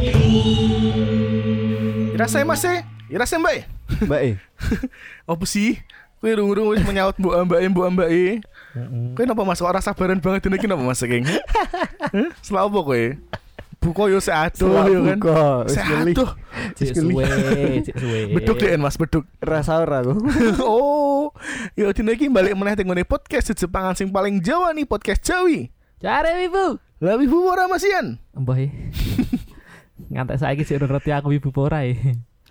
ya, Irasaimasu, irasaimae. Mbak E. Apa sih? Kowe rung-rung wis menyaut mbok ambake mbok ambake. Kowe napa masuk ora sabaran banget dene iki napa Mas King? Heh? Selah apa kowe? Buka yo sik adoh Selak yo kan. buka, wis Sik ngelih. adoh. Wis Cek geli. suwe, cek suwe. Beduk deh Mas, beduk. Rasa ora aku. oh, yo dina iki balik meneh teng ngene podcast Jepangan sing paling Jawa nih podcast Jawi. Cari wibu. Lah wibu ora Masian. Mbah e. Ngantek saiki sik urung ngerti aku wibu apa ora e.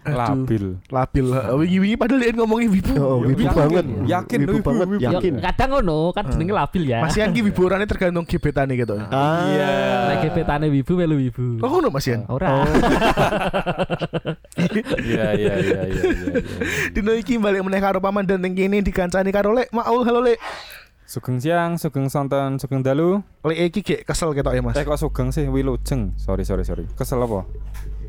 Eh, labil Labil. Wingi-wingi padahal dia ngomongin wibu. Oh, wibu Yakin, banget. yakin, wibu wibu, banget, wibu. Ya, yakin. Kadang ngono, kan jenenge labil ya. Masian ki wiburane tergantung gebetane gitu. Ah. Iya. Nek gebetane wibu melu wibu. Kok ngono Masian? Ora. iya iya iya iya iya, iya. Dina iki balik meneh karo paman dan ning kene dikancani karo Lek. Maul halo Lek. sugeng siang sugeng sonten sugeng dalu Lek iki gek kesel ketok ya Mas. eh kok sugeng sih wilujeng sorry sorry sorry kesel apa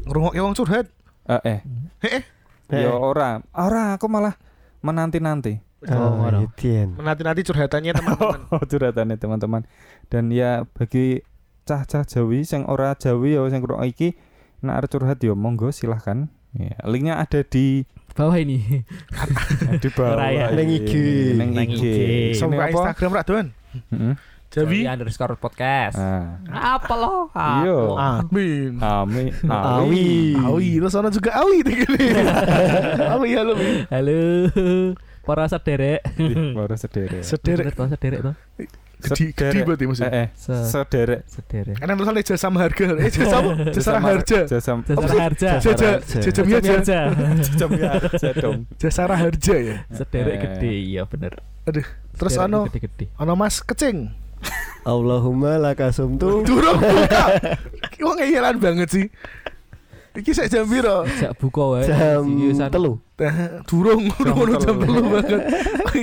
Ngrungokke wong curhat. eh eh Heeh. Eh. ya ora ora aku malah menanti nanti Oh, Oh, ngono. Yudin. Menanti-nanti curhatannya teman-teman. Oh. curhatannya teman-teman dan ya bagi cah-cah Jawi sing ora Jawi ya sing kurang iki nek arep curhat ya monggo silahkan ya, linknya ada di Bawah ini. di bawah Ora ya. Iya, Ning IG. Ning Ning IG. IG. Ini Sampai apa? Instagram ra doan. Heeh. Jawi. Jawi underscore podcast. Ah. Apa lo? Apa Iya. lo? Amin. Ami, Awi. Awi, terus ana juga Awi iki. Awi halo. Bi. Halo. Para sederek. Ih, Iya, Baru sederek. Sederek. Bener, sederek to. Gede gede Sederek. berarti maksudnya. Eh, eh, Se- sederek. Sederek. Karena tulisannya jasa harga. Eh jasa apa? Jasa Jasa mar- harga. Jasa Jasa harja. Jasa jasa Jasa biasa. harja. jasa harja dong. Jasa harga ya. Sederek Eh. gede, iya bener. Aduh. Terus Sederek ano gede-gede. ano Mas Kecing. Allahumma lakasum tu. Durung buka. Wong ngeyelan banget sih. Iki saya jam piro? Sejak buka wae. Jam Seriusan. telu. Nah, Durung ngono jam telu. 3 banget.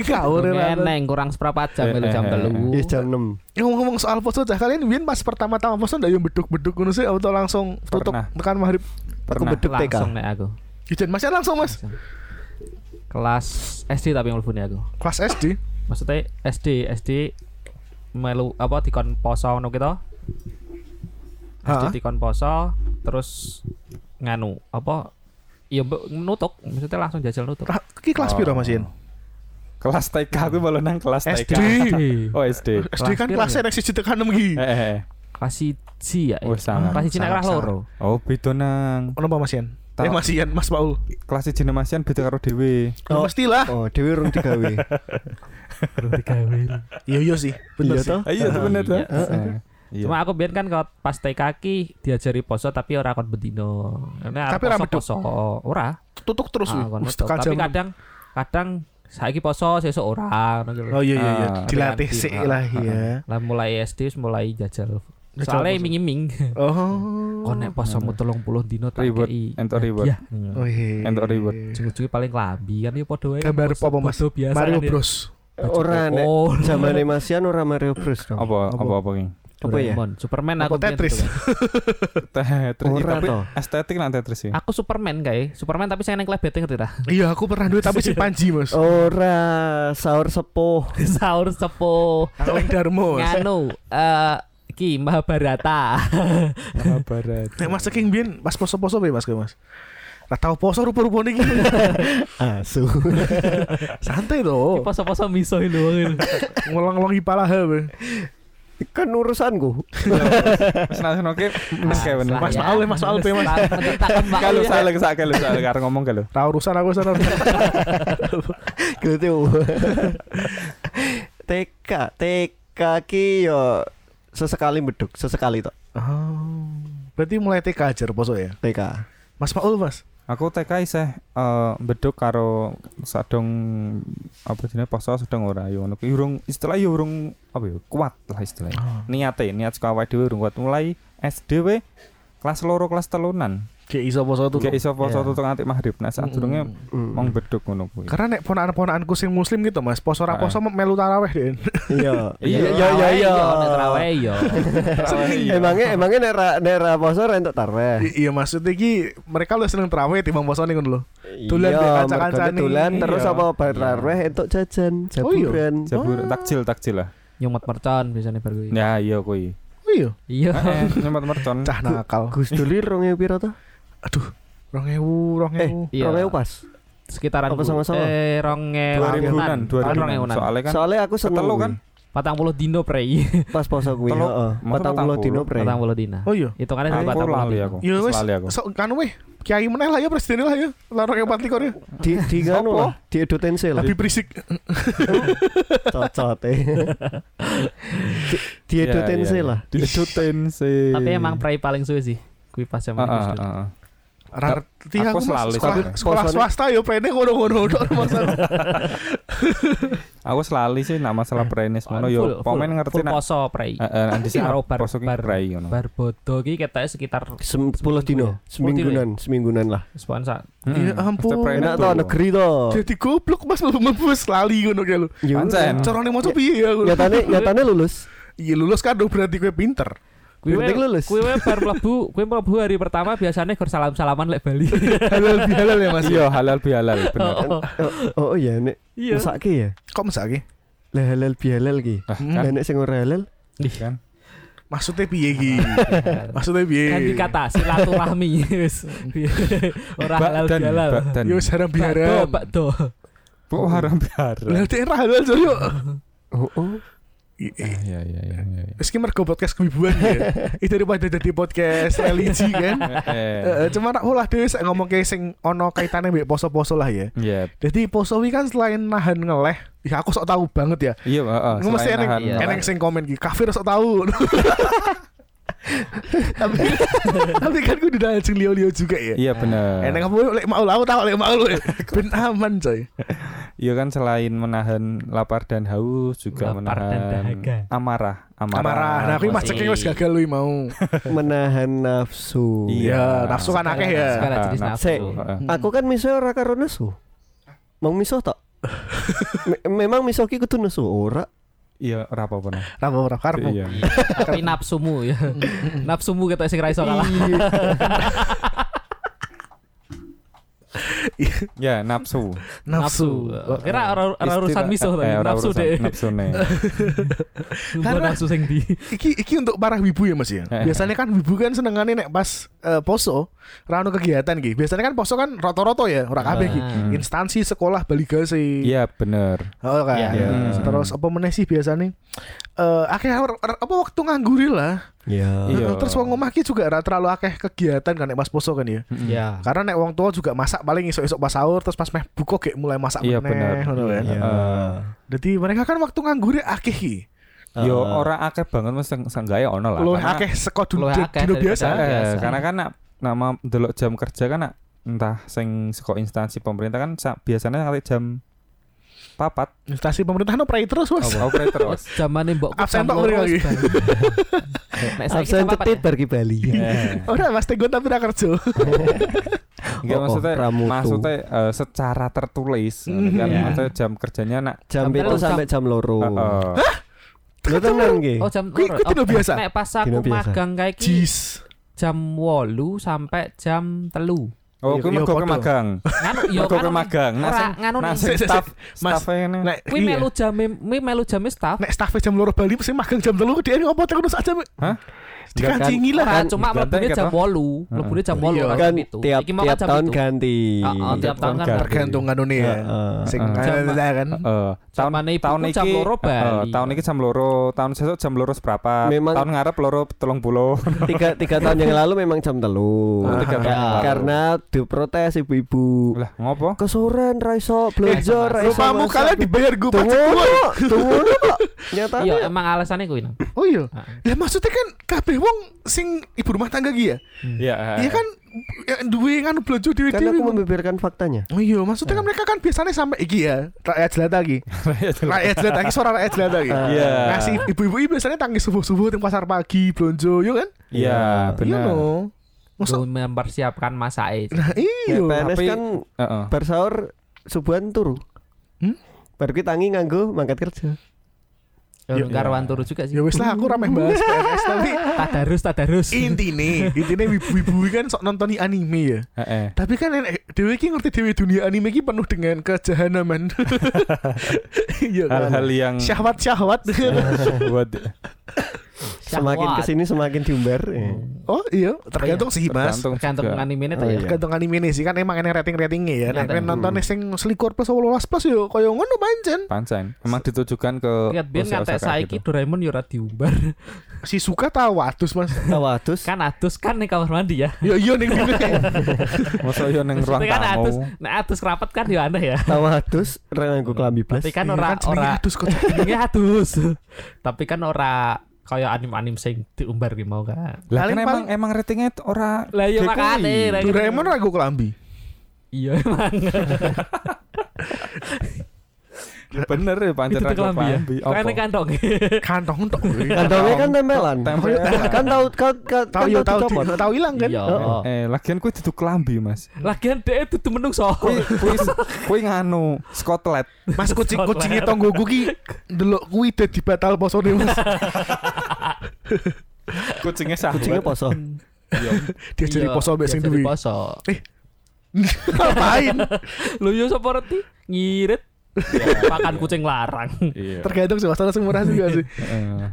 Kawur ya. Neng kurang seperempat jam melu jam telu. Yes, eh. Iya, jam 6. ngomong-ngomong soal poso cah kalian biyen pas pertama-tama poso ndak yo beduk-beduk ngono sih atau langsung tutup Pernah. tekan maghrib. Aku Pernah. beduk TK. Langsung nek aku. Ijen masih langsung Mas. Langsung. Kelas SD tapi ngelbune aku. Kelas SD. Maksudnya SD SD melu apa dikon poso ngono kita. Hah? SD dikon poso terus nganu apa ya mbok nutuk maksudnya langsung jajal nutuk. Ra- Ki kelas piro Mas Yen? Kelas TK aku malah nang kelas SD. TK. Oh SD. SD kan Kelas kelasnya piro nek siji tekan 6 ki. Eh, eh, eh. Kelas siji ya. Oh, sangat. Kelas siji nek kelas Sangat, loro. Oh, beda nang Ono apa Mas Yen? Tau. Eh Mas Yen, Mas Paul. kelas di Masian beda karo dhewe. Oh. Mestilah. Oh, Dewi urung digawe. Iya iya sih. Bener Iya sih. toh? Iya, itu bener iya. tuh. Eh, Iya. Cuma aku biar kan kalau pas TK ki diajari poso tapi ora kon bedino. Karena Tapi poso ra medok. poso ora. Tutuk terus. wih. Ah, kon Wis medok. tekan Tapi jam kadang kadang saiki poso sesuk ora ngono gitu. Oh iya iya iya, Ah. dilatih Tapi sik nanti, lah ah, ya. Lah mulai SD wis mulai Jajal jajal. Soalnya poso. ming-ming. Oh. Kon nek posomu 30 dino tak Reward, kei. entuk reward. Ya. Oh iya. Entuk reward. Ujung-ujungnya paling labi kan ya padha wae. Gambar Poso- apa Mas? poso biasa Mario kan ya. Bros. Baju Ora koko. nek Oh, zamane Masian ora Mario Bros dong. Apa apa apa King? Apa ya? Doraemon. Superman Apa aku biyen Tetris? gitu. Tetris Ora tapi toh. estetik nang Tetris sih. Aku Superman kayak Superman tapi saya neng klebete ngerti dah. Iya, aku pernah duit tapi si Panji, Mas. Ora sahur sepuh. Saur sepuh. Kaleng Darmo. Mas. nganu eh ki Mahabharata Barat. Nek Mas King biyen pas poso-poso piye Mas kowe, Mas? Ra tau poso rupa-rupane iki. Asu. Santai to. poso-poso miso lho Ngolong-olongi palaha. weh. kan urusanku. Senang senang oke. Mas kayak ya. bener. Mas Maul, Mas Maul, Mas. Kalau Iya. salah sak kalau salah karo ngomong kalau. Ra urusan aku sana. Gitu. TK, TK ki yo sesekali beduk, sesekali tok Oh. Berarti mulai TK ajar poso ya. TK. Mas Maul, Mas. Aku TK isih eh beduk karo sadong apa jenenge poso sedang ora yo ngono. kuwi. Urung istilah yo urung apa yo kuat lah istilahnya. Niate niat saka awake dhewe urung kuat. Mulai SD we kelas loro kelas telunan. Ki iso poso tuh. Gak iso poso Iya. tutuk nganti maghrib. Nah sadurunge mong beduk ngono kuwi. Karena nek ponakan-ponakanku sing muslim gitu, Mas, poso ra poso melu tarawih, Den. Iya. Iya, Iya, iya, iya. Trawe yo Emangnya emangnya nek ra nek ra poso ra entuk I- tarweh. iya maksudnya iki mereka lu seneng tarawih timbang poso nih ngono lho. Dolan dek Iya, kanca-kancane. mergane dolan terus Iya. apa bar tarweh entuk jajan, Oh, iya. jaburan. Jabur takjil takjil lah. nyumet mercon biasanya baru kuwi. Ya iya kuwi. Oh iya, Iya. Heeh, nyempat mercon. cah nakal. Oh. Gus Dulir rong ewu pira ta? Aduh, 2000, 2000. Eh, Iya. rong ewu pas. Sekitaran Apa Bu. sama-sama? Eh, rong Dua ribuan, ewunan. dua Tahun rong ribuan. ewunan. Soalnya kan Soalnya aku seneng Ketelu kuwi. kan? Patang puluh dino prei. pas poso kuwi, Teluk. heeh. Masa Patang patang puluh dino puluh? pre. Patang puluh dina. Oh iya. Hitungannya aku dari patang puluh lali dina. aku. Ya wis, Lali aku. sok kan weh, kiai meneh lah ya presiden lah ya. Larang yang patlikor Iya, ya. Di di nganu Sopo? lah, di Edo Tensel. Habib Prisik. Cocote. Di- Di Edo Iya, iya, Tensel eh. iya. lah. Di Edo Tensei. Tapi emang prei paling suwe sih. Kuwi pas zaman Heeh, Gus Dur. heeh. Rarti Aku aku mas- selalu- sekolah, tapi sekolah posone- swasta ya prene ngono-ngono tok masalah. Aku selalu sih nak masalah prenis ngono Eh, Full- yo full- Iya. pomen ngerti full nak. Eh, poso prei. Heeh, nanti sih Karo bar- poso ki bar- prei ngono. Barbodo ki ketoknya sekitar Sem- 10 dino, Sepuluh dino ya? seminggunan, seminggunan lah. sepoan sak. Heeh, Ya ampun. pasti prenis Enak tuh. to negeri to. Oh. Jadi goblok Mas mlebu lali ngono kae lho. Yo. Pancen. Corone Iya. maca piye ya aku. Nyatane nyatane lulus. Iya lulus kan dong berarti gue pinter. Kuwi Penting lulus. Kuwi wae bar mlebu, kuwi mlebu hari pertama biasanya gur salam-salaman lek Bali. Halal bihalal ya Mas. Iya, halal bihalal bener. Oh, oh. Oh, oh iya nek Iya. mesake ya. Kok mesake? Lah halal bihalal ki. Lah, Hmm. Lah kan, nek sing ora halal kan. Maksudnya piye iki? Kan Maksudnya piye? dikata silaturahmi wis. Ora Bak halal dan- halal. bak dan. Yo haram biharam. Pak do. Bu haram biharam. Lah dia ra halal so yo. Oh, oh. I- i- Ah, Iya, iya, iya, iya. iya. Meski mergo podcast kewibuan ya. Itu daripada jadi podcast religi kan. Eh, Eh, eh, Cuma nak ulah dhewe sak ngomong kayak sing ono kaitane mbek poso-poso lah ya. Iya, Jadi poso wi kan selain nahan ngeleh, ya aku sok tahu banget ya. iya, heeh. Nggak mesti selain eneng nahan- iya. eneng sing komen gitu kafir sok tahu tapi tapi kan gue udah anjing lio lio juga ya Iya benar. eneng apa lek mau lau tahu lek mau lu ben aman coy Iya kan selain menahan lapar dan haus Lapar juga dan menahan dahaga. amarah, amarah. amarah nah aku mas emosi. ceking wis gagal lu mau menahan nafsu. iya nafsu kan akeh ya Segala Ah, jenis nafsu. nafsu. Heeh. Aku kan miso ora karo nesu. Mau miso tok? Me- memang miso ki kudu nesu ora. Iya, ora apa-apa. nah. rapo rapo karpo Iya. Iya, Tapi nafsumu ya. Nafsumu ketok sing ra iso kalah. Ya, nafsu. nafsu Kira ora ora urusan misuh Eh, tapi ora nafsu urusan deh. Iya. Nafsu ne. Sumpah Karena- nafsu sing di. iki iki untuk para wibu ya mas ya Eh. biasanya kan wibu kan senengane nek pas eh, poso rano kegiatan gitu biasanya kan poso kan roto-roto ya ora kabeh ki. Ah. Hmm. instansi sekolah baligasi Iya, bener. Oh kan. Iya. Iya. Terus apa meneh sih biasanya? Eh akhirnya apa waktu nganggur lah. Ya. Iya. Terus wong omah ki juga ora terlalu akeh kegiatan kan nek pas poso kan ya. Ya. Karena nek wong tua juga masak paling esok-esok pas sahur terus pas meh buka gek mulai masak Iya, meneh bener. ngono kan. Ya. Jadi mereka kan waktu nganggur akeh ki. Yo Ah. ora akeh banget mesti sanggae ono lah. Lu Karena- akeh seko dun- Luwih dun- akeh dino daripada- biasa. Eh, biasa. karena kan nak- nama delok jam kerja kan nak, entah sing saka instansi pemerintah kan sa- biasanya nganti jam papat Instansi pemerintah no pray terus Mas. operator Wes zamane mbok Absen tok mereka iki. Nek saiki Absen sampat ya? tetit bar ki Bali. ya. Eh, Ora Oh, iya, Mas Tegun tapi ra kerja. Enggak Oh, oh, maksudnya Pramutu. maksudnya eh, secara tertulis Mhm. Iya. kan Oh. maksudnya jam kerjanya nak eh, Jam Sampai itu jam- sampai jam loro. Heeh. Lu tenan ki. Oh jam Kuwi- loro. kuwi dino Oh, biasa. Nek pas Dino aku biasa. magang kae iki Jis. jam 8 sampai jam 3. Oh, Iya, kuwi iya, mergo podo. ke magang. Nganu iya, kan yo Mergo ke magang. Nah, Ora sing- nganu nah, nih. sing Sik, sik, staff sik. Mas, staff-e ngene. Nek Kuwi iya. melu jame, kuwi melu jame staff. Nek staff jam loro Bali mesti magang jam telu dia ngopo terus aja Hah? dikancingi lah Ora kan Ah, cuma ganti mlebune kata. jam 8, Heeh. mlebune jam 8 Iya. ora Kan Oh, jam pitu. tiap Iki mau tiap jam tahun kan- pitu. ganti. Oh, oh, tiap tahun kan ganti. tergantung kanone ya Heeh. sing Heeh. kan kan Hmm. Heeh. tahun Zamane ibuku tahun jam iki- loro heeh, Bali. ya. tahun iki jam loro, tahun sesuk jam loro seberapa? Memang- Tahun ngarep loro 30. tiga tiga tahun yang lalu memang jam telu Oh, tiga tahun yang lalu. karena diprotes ibu-ibu Lah, ngopo? kesoren raiso belanja Eh, raiso rupamu kalian dibayar gue pajak tunggu gue tunggu kok nyatanya Iya, emang alasannya kuwi. Ah. Nam. oh iya Heeh. ya maksudnya kan kabeh wong sing ibu rumah tangga ki ya Hmm. Iya. iya kan ya, duwe kan blonjo dhewe kan aku dhewe membeberkan faktanya Oh iya, maksudnya kan mereka kan biasanya sampai iki ya, rakyat jelata iki. Rakyat jelata iki, suara rakyat jelata iki. Iya. Nah, si ibu-ibu ini biasanya tangis subuh-subuh di pasar pagi, blonjo, yo kan? Iya, Iya benar. no. Kudu Masuk- mempersiapkan masake. Nah, Ya, iya. PNS tapi- kan Heeh. bar sahur subuhan turu Hmm? baru kita tangi nganggo mangkat kerja Ya, Ya, karuan turu juga sih. Ya wis lah aku ramai bahas PNS tapi Tadarus, tadarus. intine, intine wibu-wibu iki kan sok nontoni anime ya. Heeh. Tapi kan enek dhewe iki ngerti dhewe dunia anime iki penuh dengan kejahanaman. Iya Hal-hal kan. yang Syahwat-syahwat. buat Semakin Syahwat. kesini semakin diumbar. ya. oh iya, tergantung sih Mas. tergantung Tergantung juga. anime ini Oh, ya. iya. Tergantung anime ini sih kan emang enek rating-ratingnya ya. Nek Iya, Ternyata. kan. kowe nontone sing selikur plus 18 plus yo koyo ngono pancen. pancen emang ditujukan ke Ingat biar usia-usia ngantek kayak saiki gitu. Doraemon ya ora diumbar. Si Suka tahu atus Mas. Tawadus. Kan atus kan nih kamar mandi ya. Yo yo ning masa yo nang ruang Maksudnya kan tamu atus, nah atus rapat kan ya aneh ya. Tawadus Renganggo kelambi blas. Tapi kan Iya, ora jenenge ora atus kok. jenenge atus. Tapi kan ora kaya anim-anim sing diumbar ki mau kan. lah Paling- kan emang paling- emang ratingnya t- ora Lah iya Dekui. makane. lah iya. Doraemon ragu kelambi. Iya emang. bener ya pancen Itu tuh ragu kelambi ya. kelambi. Apa? Kene kantong. Iya. Kantong tok. Kantongnya kan tempelan. Tempelan. Kan tahu kan kan ya. Tahu yo tahu dicopot. di- tahu hilang kan. Iya. eh lagian kue itu kelambi mas Lagian dhek dudu menungso. kue kue kue nganu skotlet Mas kucing kucinge tonggoku ki ndelok kuwi dadi batal posone Mas. kucingnya ya. sahabat Kucingnya poso. Dia jadi Iya, poso mbek dia sing jadi duwe. Poso. Ngapain? Lho yo sapa reti? Ngirit. Pakan kucing larang. iya Tergantung sih masalah sing murah juga sih. Eh,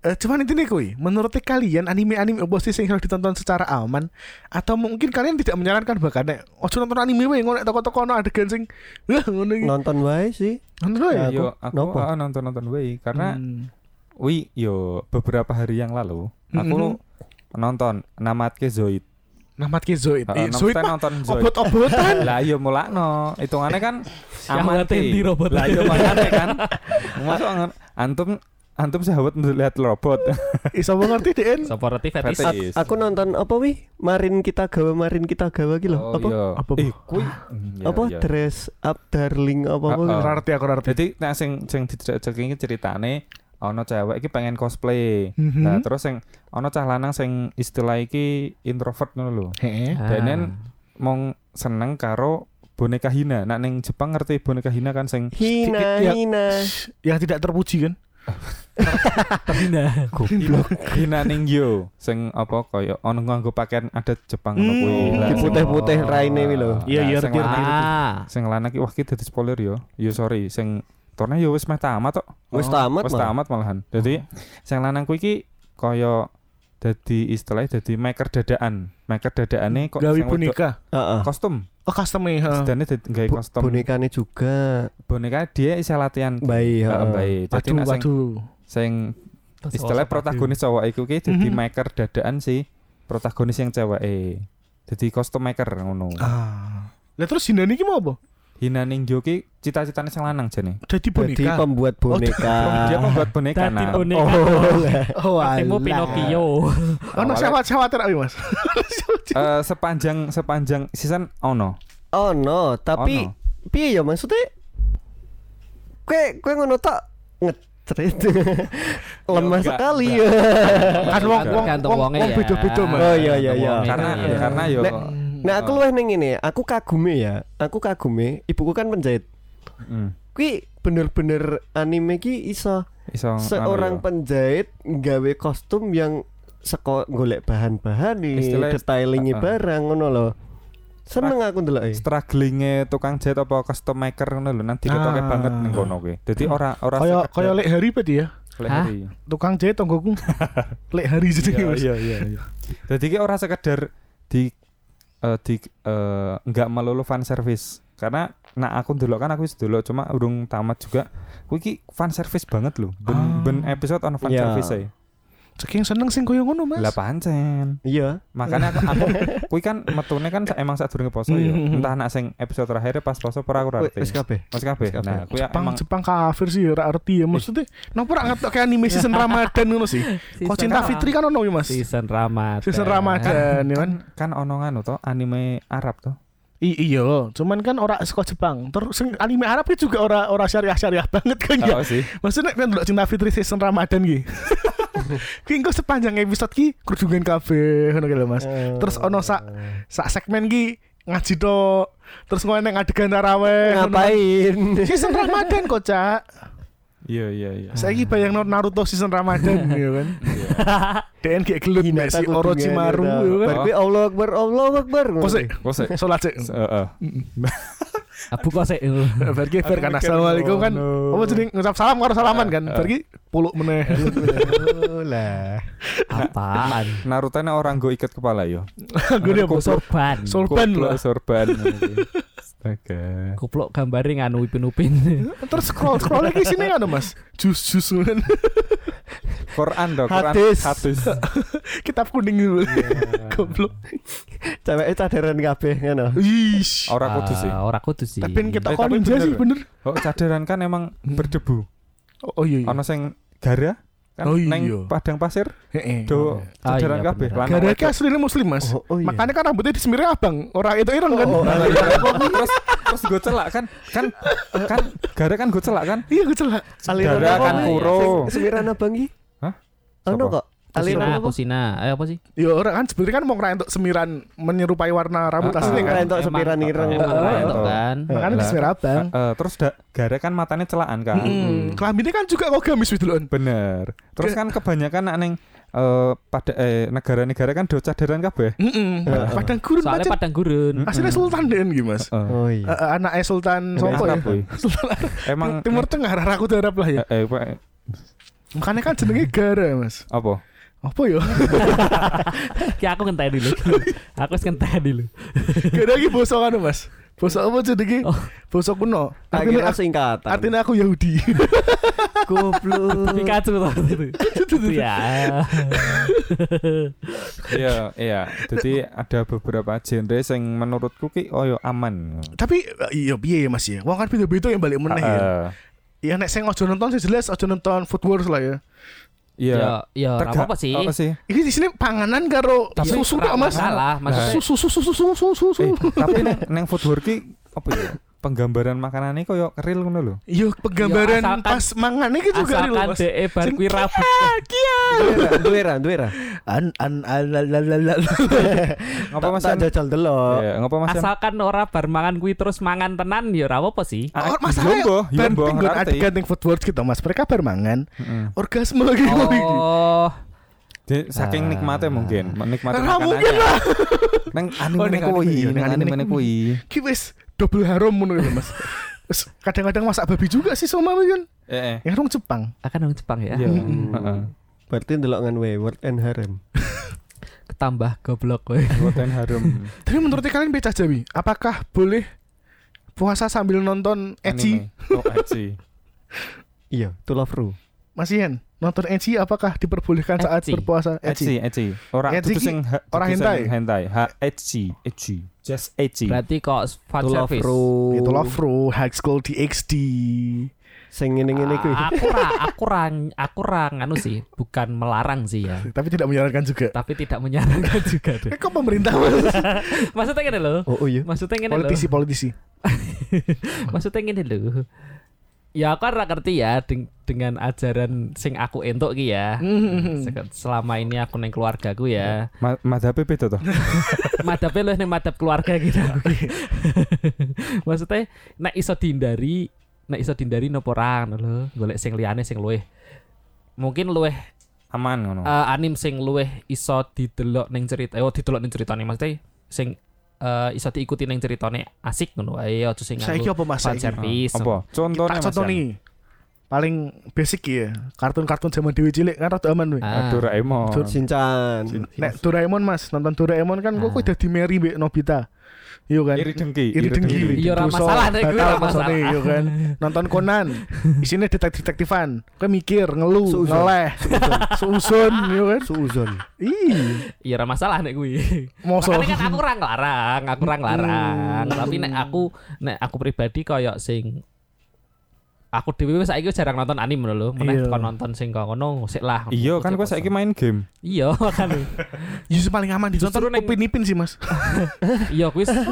Eh, cuman intinya kuy, menurut kalian anime-anime apa sih yang harus ditonton secara aman atau mungkin kalian tidak menyarankan bahkan nek ojo nonton anime wae ngono nek toko-toko ono adegan sing wah ngono iki. Nonton wae sih. Nonton wae. Ya, yo aku- aku nopo? ah, nonton-nonton wae karena Hmm. wi yo beberapa hari yang lalu Hmm. aku nonton namatke Zoid Namat ki Zoid. Eh, Heeh, nonton- Zoid mah nonton Zoid obot-obotan. lah yo mulakno hitungannya kan aman Syahwate ki. di robot. lah yo makane kan masuk antum antum sahabat melihat robot Iso ngerti Den. Sapa reti fetis. Fetis. A- Aku nonton apa wi? Marin kita gawa, marin kita gawa gitu. Oh, Apa? iya. Apa? eh kui Hmm, iya, Apa iya. Uh-uh. dress up darling apa apa? Heeh. Ora ngerti aku ora ngerti. jadi nah sing sing dicek iki ceritane ono cewek iki pengen cosplay Mhm. nah terus sing ono cah lanang sing istilah iki introvert ngono lho Heeh. Denen- mong seneng karo boneka hina nak ning Jepang ngerti boneka hina kan sing Hina Ya. hina. Yang tidak terpuji kan? Tabina. hina ning yo sing apa kaya ono nganggo pakaian adat Jepang ngono Hmm, kuwi Lah, Di sing- putih-putih Oh. raine wi lho. Iya, Nah, iya, sing ngerti, lanang- Ah. sing lanang iki wah iki dadi spoiler yo yo sorry sing torne yo wis meh tamat tok Wis tamat Oh, wis malah. tamat malahan jadi sing lanang kuwi iki kaya dadi istilahnya dadi maker dadaan maker dadane kok Gawe sing wedok- boneka. Heeh. kostum Oh custom ya. heeh. sedane dadi gawe Bu- kostum Uh-uh. Bonekane juga boneka dia isih latihan bayi uh-uh. Heeh, heeh. bae. Jadi Waduh, nak sing waduh. sing istilah protagonis cowok iku ki dadi Mhm. maker dadaan si protagonis yang cewek eh jadi kostum maker ngono Ah. Lah terus Hindani ki mau apa? Hina Ningyo ki cita-citane sing lanang jane Jadi Jadi boneka. pembuat boneka. Ah. dia membuat boneka Dadi nah boneka. Oh, lah. oh, Katemu Pinocchio. Ono sewat-sewat ra Mas. Eh, sepanjang sepanjang season ono oh no, tapi Ono. piye ya maksudnya? Kue kue ngono tak ngecrit. Lemah enggak, sekali enggak. ya. Kan wong wong Tergantung wong wongnya wong ya. beda-beda Mas. Oh, iya, iya, Ah. iya. Tergantung karena ya. wongnya, iya. karena yo Nek- Nah Oh. aku luwih ning ngene, aku kagume ya. Aku kagume, ibuku kan penjahit. mm, Kui bener-bener anime ki iso ya. iso seorang anu yo. penjahit nggawe kostum yang seko golek bahan-bahan nih, Istilahnya- detailingnya Heeh. barang ngono lho. Seneng aku e. ndeloki. strugglingnya tukang jet apa custom maker ngono lho nanti ketoke Ah. Hmm. banget ning kono kuwi dadi ora ora Kaya kaya sekedar lek hari pedi ya. leheri. Tukang jahit tonggoku. lek hari jenenge Mas. iya iya. Jadi ki ora sekedar di eh, di eh, nggak melulu fan service. Karena nah aku dulu kan aku wis dulu cuma urung tamat juga. Kuwi ki fan service banget loh. Ben, Ah. ben episode on fan Iya. service ae. Saking seneng sing koyo ngono Mas. Lah pancen. Iya. Makanya aku, aku kuwi kan metune kan sa- emang sadurunge poso ya. Mhm. Entah anak sing episode terakhir pas poso ora aku ora Wis ngerti. wis kabeh. Mas kabeh. Wis kabeh. Nah, kuwi Jepang emang Jepang kafir sih ya, ra arti ya maksudnya. Napa ora ngetok kayak anime season Ramadan ngono sih? Kok cinta Fitri kan ono ya Mas. season Ramadan. Season Ramadan ya kan. kan ono nganu to anime Arab to. I- iya, cuman kan ora saka Jepang. Terus sing anime Arab ki juga ora ora syariah-syariah banget kan ya. Oh, sih. Maksudnya kan dulu cinta Fitri season Ramadan ki. Ki engko sepanjang episode ki kerudungan kabeh ngono ki lho, Mas. Terus ono sak sak segmen ki ngaji to. Terus ngono neng adegan tarawih. ngono. Eh, Ngapain? Season Ramadan kok, Cak. Iya iya iya. Saiki bayangno Naruto season Ramadan ya kan. DN kayak gelut Mbak, Hinata si kudu Orochimaru ngene, ya Bar kan. kuwi Allah Akbar, Allah Akbar. ngono. Kosek, Kok sih? salat sik. Se- eh, eh. Aku kok uh, sih. Bar ki bar kan Aku mikir, assalamualaikum kan. no. Apa jadi ngucap salam karo salaman kan. Bar ki puluk meneh. lah. Apaan? Naruto nya orang gue ikat kepala yo. Gue apa? Sorban. Sor- Sorban Koplo, lah. Sorban. Astaga. Kuplok gambarnya nganu anu, upin-upin. Terus scroll scroll lagi sini kan Mas. Jus jus kan. Quran dong. Quran. Hadis. Hadis. Kitab kuning dulu. Goblok. Ceweknya cadaran kabeh ngono. Ish. Orang kudu sih. Ah, Ora kudu sih. Tapi kita Eh, tapi koninja bener. sih bener. Oh cadaran kan emang berdebu. Oh, oh Hmm. iya. iya. Ono sing gara kan Oh, iya. neng padang pasir Heeh. do Ah, cadaran iya, kabeh. beneran. Lanang Gara-gara wedok. aslinya muslim mas Oh, oh iya. Makanya kan rambutnya disemirnya abang Orang itu ireng kan Oh, oh, Nah, iya. terus terus gue celak kan kan kan gara kan gue celak kan Iya gue celak Aliran Dara apa kan kuwi? kuro. Sing- Semiran abang iki? Hah? Ono Sopo? kok. Aliran Kusina, apa? Kusina. Eh apa sih? Ya orang kan sebenarnya kan mau ngerentok semiran Menyerupai warna rambut Ah, aslinya kan Ngerentok Emang- semiran ireng. Emang Oh, rentok oh. kan. Makanya Lah. disemir abang Eh, terus da, gara kan matanya celaan kan Mm. Kelaminnya kan juga kok gamis gitu loh bener terus Ke- kan kebanyakan anak neng eh, pada eh, negara-negara kan do cadaran kabeh Padang gurun Soalnya macet padang gurun. Aslinya sultan deh gitu mas Eh, Oh iya. Eh, Anaknya sultan Sopo ya Arab, woy. Sultan emang Timur Tengah arah aku darab lah ya eh, eh, apa- Makanya kan jenenge gara mas apa Apa ya Ya aku ngenteni dulu. aku wis ngenteni dulu. Gara lagi bosok kan mas Bosok apa jenenge Oh. Bosok kuno Tak kira Artinya aku- singkatan. artinya aku Yahudi goblok. Pikachu tuh itu. Itu ya. iya iya jadi ada beberapa genre yang menurutku ki oh aman Tapi eh, iya piye ya Mas ya. Wong kan beda-beda yang balik meneh ya. Eh, Ya nek sing ojo nonton sih jelas ojo nonton Food Wars lah ya. iya Ya, ya ora Terga- apa-apa sih. apa sih Ini di sini panganan karo Tapi susu ora tok Mas. Masalah, maksudnya Susu susu susu susu susu. Eh, tapi neng, neng foodwork ki apa ya? Penggambaran makanannya koyo real ngono lho. Yo Iya, penggambaran Yo, Iya, asalkan- pas gitu, mangan iki Iya juga real asalkan Mas. DE bar kuwi rabu. Ah, Duwera, duwera. An an an la la la la. Ngapa Mas? Tak Eh, jajal delok. Ya, ngapa Mas? Asalkan ora bar mangan kuwi terus mangan tenan ya ora apa-apa sih. Oh, Ah, masalahnya Yombo, ban yombo, tinggal iya, ngerti. adegan yang Food Wars gitu Mas. Mereka bar mangan Heeh. orgasme gitu. lagi ngomong iki. Oh. Jadi, saking nikmatnya mungkin, menikmati Ora Ah. mungkin lah. Neng anime Oh, neng neng kuwi, anime, iya, neng neng anime. anime kuwi. Ki wis double harum ngono lho, Mas. Terus Kadang-kadang masak babi juga sih sama kan. Heeh. Ya orang Jepang. Akan orang Jepang ya. Iya. Mm-mm. Heeh. Berarti delok ngan wayward and harem. Ketambah goblok kowe. Buatan harum. Tapi menurut Hmm. kalian Becah Jawi, apakah boleh puasa sambil nonton Eci? Anime. Oh, ecchi. Iya, to love ru. Mas Ian, nonton Eci apakah diperbolehkan saat Ecchi. berpuasa Eci? Ecchi, ecchi. Ora Ecchi dudu ki- sing ha- ora dudu sing hentai. Hentai. Ha ecchi, ecchi. Just ecchi. Berarti kok fan To love service. ru. Itu Oh. Lovro, High School DxD. Sing ngene-ngene kuwi. Ah, aku ra aku ra aku ra nganu sih, bukan melarang sih ya. Tapi tidak menyarankan juga. Tapi tidak menyarankan juga deh. Eh kok pemerintah Mas? Maksudnya gini loh. Oh, oh iya. Maksudnya gini loh. politisi politisi. Maksudnya gini loh. Ya aku kan ra ngerti ya deng- dengan ajaran sing aku entuk ki ya. Hmm. Sek- Selama ini aku neng keluargaku ya. Ma- Madhabe beda toh. Hmm. Madhabnya lu neng madhab keluarga gitu. Maksudnya nek iso dihindari, nek iso dihindari nopo ora ngono lho. Golek sing liyane sing luweh mungkin luweh Aman ngono. Ah, eh, anim sing luweh iso didelok neng cerita eh, oh didelok neng ceritane maksudnya sing eh, iso diikuti neng ceritane asik ngono ae aja sing Saya nganggo apa Mas? fan Saiki? service Apa? Contohnya Tak Mas. contoh Yan. nih. ya. Paling basic ya, kartun-kartun zaman Dewi cilik kan rada aman weh. Ah. iya. Ah, Doraemon. Sinchan. Nek Doraemon Mas, nonton Doraemon kan kok Ah. kok dadi Mary mbek Nobita. Iya kan? Iri dengki. iri dengki Iya, ora masalah, nek gue ora masalah. yo kan nonton Conan isinya detektif detektifan kau mikir ngeluh Suuzon. ngeleh susun yo kan Suuzon. ih Iya ora masalah nek kuwi. moso Makanya kan aku ora nglarang, aku ora nglarang. Hmm. Tapi nek aku nek aku pribadi koyo sing aku dhewe wis saiki wis jarang nonton anime lho. Iya. Meneh kon nonton sing kok ngono sik lah. Iya kan gue saiki main game. Iya kan. justru paling aman ditonton Justru neng- Upin Ipin sih mas Iya kuwi s-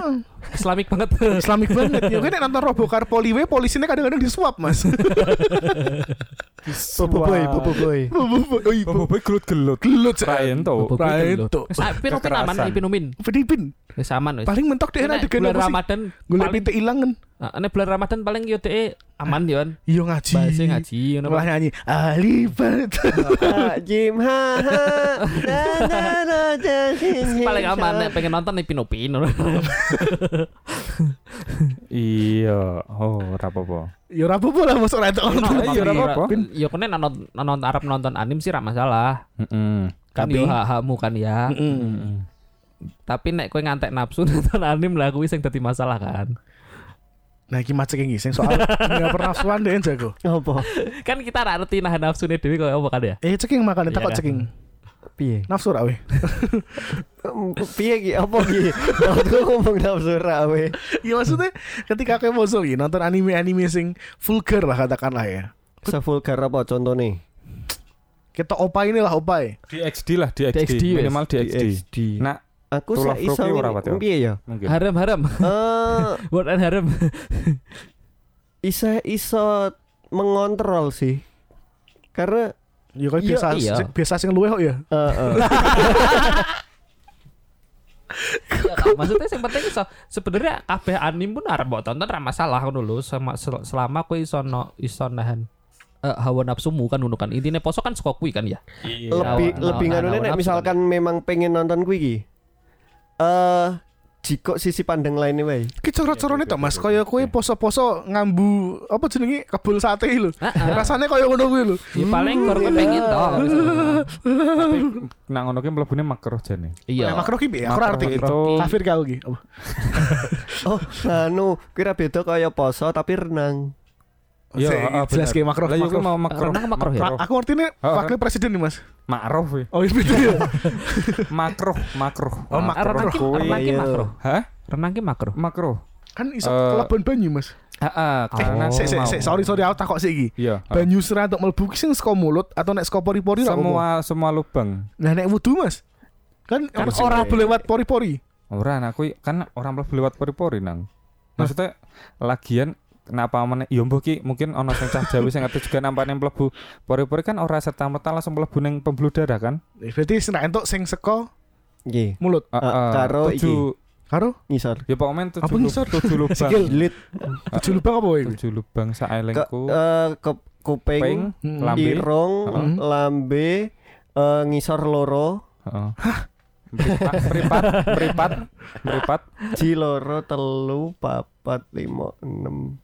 Islamik banget. Islamik banget. Ya kan nek nonton Robokar Poliwe polisinya kadang-kadang disuap, Mas. Bobo boy, bobo boy. Oi, Bobo gelut-gelut. gelut Rayen Bobo tuh. boy Rayen gelut. tuh. Wis ah, pinomin aman, Kekerasan. eh, pinomin. Filipin Wis aman wis. paling mentok deh Nek ada bulan apa sih? Ramadan Golek paling- pitik ilang kan. Ah, nek bulan Ramadan paling yo dhek aman yo kan. Iya ngaji. Bahasa ngaji ngono. Malah nyanyi Alibat. Ah, Jim ha ha. Na, na, na, iya. jasin, Wis Paling jim, aman ha. nek pengen nonton nih pinopin. Iya, oh rapopo. Ya ora apa-apa lah masuk ra Oh, entuk. Nah, iya, ora apa-apa. Yo kene ya, nonton nonton Arab nonton anim sih ra masalah. Heeh. Kan Tapi- yo hak-hakmu kan ya. Tapi nek kowe ngantek nafsu nonton anim lah kuwi sing dadi masalah kan. Nah iki macet iki sing soal enggak pernah suan deh jago. Apa? Kan kita ra ngerti nahan nafsune dhewe koyo apa kan ya. Eh ceking makan Iya tak kok kan? ceking. Piye? Nafsu ra weh. Em, Piye ki? Apa ki? Aku ngomong nafsu ra we. Ya maksudnya ketika kayak bosan gitu nonton anime-anime sing vulgar lah katakanlah ya. Sevulgar apa contohnya? Kita opai ini lah opai. Di XD lah, di Di XD, XD. wes. Minimal di XD. XD. Nah, Aku Tulah sak iso Fruki ngene- ora apa, Tio? Piye ya? Iya. mungkin. Haram-haram. Eh, Word and haram. isa iso mengontrol sih. Karena Ya kan Iya, biasa iya. sing- biasa sing luwe kok ya. eh, eh. Ya, Kak. maksudnya yang penting iso sebenarnya kabeh anim pun arep mbok tonton ra masalah ngono lho sama sel- selama kowe iso no, iso nahan eh, hawa nafsumu kan ngono kan intine poso kan saka kuwi kan ya lebih Lawan- lebih lawan- nganu lawan nek nafsu misalkan memang pengen nonton kuwi ki. Eh, jiko sisi pandang lainnya wae. Ki coret-corone to Mas, kaya kowe poso-poso ngambu apa jenenge kebul sate lho. Rasanya kaya ngono kuwi lho. ya paling baru kepengin to Tapi nang nah, ngono ki mlebune makruh jane. iya Nah, makro ki piye? Aku ora Makro ngerti. itu Kafir kau ki. Apa? Oh, anu, kira beda kaya poso tapi renang. Iya, Sing ah, jelas bener. ki makro. Lah iya, makro. kuwi mau makruh. Renang makruh ya? Aku ngerti ini Oh, wakil presiden nih mas. Makruh weh. Oh iya betul ya. Makruh, makruh. Oh, Ah, makro. renang ki Kuwi. renang ki Iya. makro Hah? renang ki makro Makruh. Kan iso Eh, kelabon banyu mas. Heeh, Eh, karena sik, sik, sik, sorry sorry aku takok sik iki. Iya. ah. Banyu serat untuk mlebu ki sing saka mulut atau nek saka pori-pori lah, apa? Semua semua lubang. Nah nek wudu Mas. Kan Kan kan ora sing- lewat pori-pori. Ora nah kuwi kan orang mlebu lewat pori-pori nang. Maksudnya lagian kenapa meneh ya mbah ki mungkin ana sing cah Jawi sing ngerti juga nampaknya mlebu pori-pori kan ora serta merta langsung mlebu ning pembuluh darah kan. Eh, Berarti sing nek entuk sing saka Nggih. mulut. Eh, Ah, eh, karo tujuh Karo Ngisor. ya pokoknya tujuh, Apa lu- ngisor? tujuh lubang. Jilid tujuh lubang apa iki? tujuh lubang ke, saelengku. eh, ke kuping, Ping, Hmm. lambe. irung, Heeh. lambe, eh, ngisor loro, Heeh. Meripat, meripat, meripat, meripat. ji loro, telu, papat, lima, enam.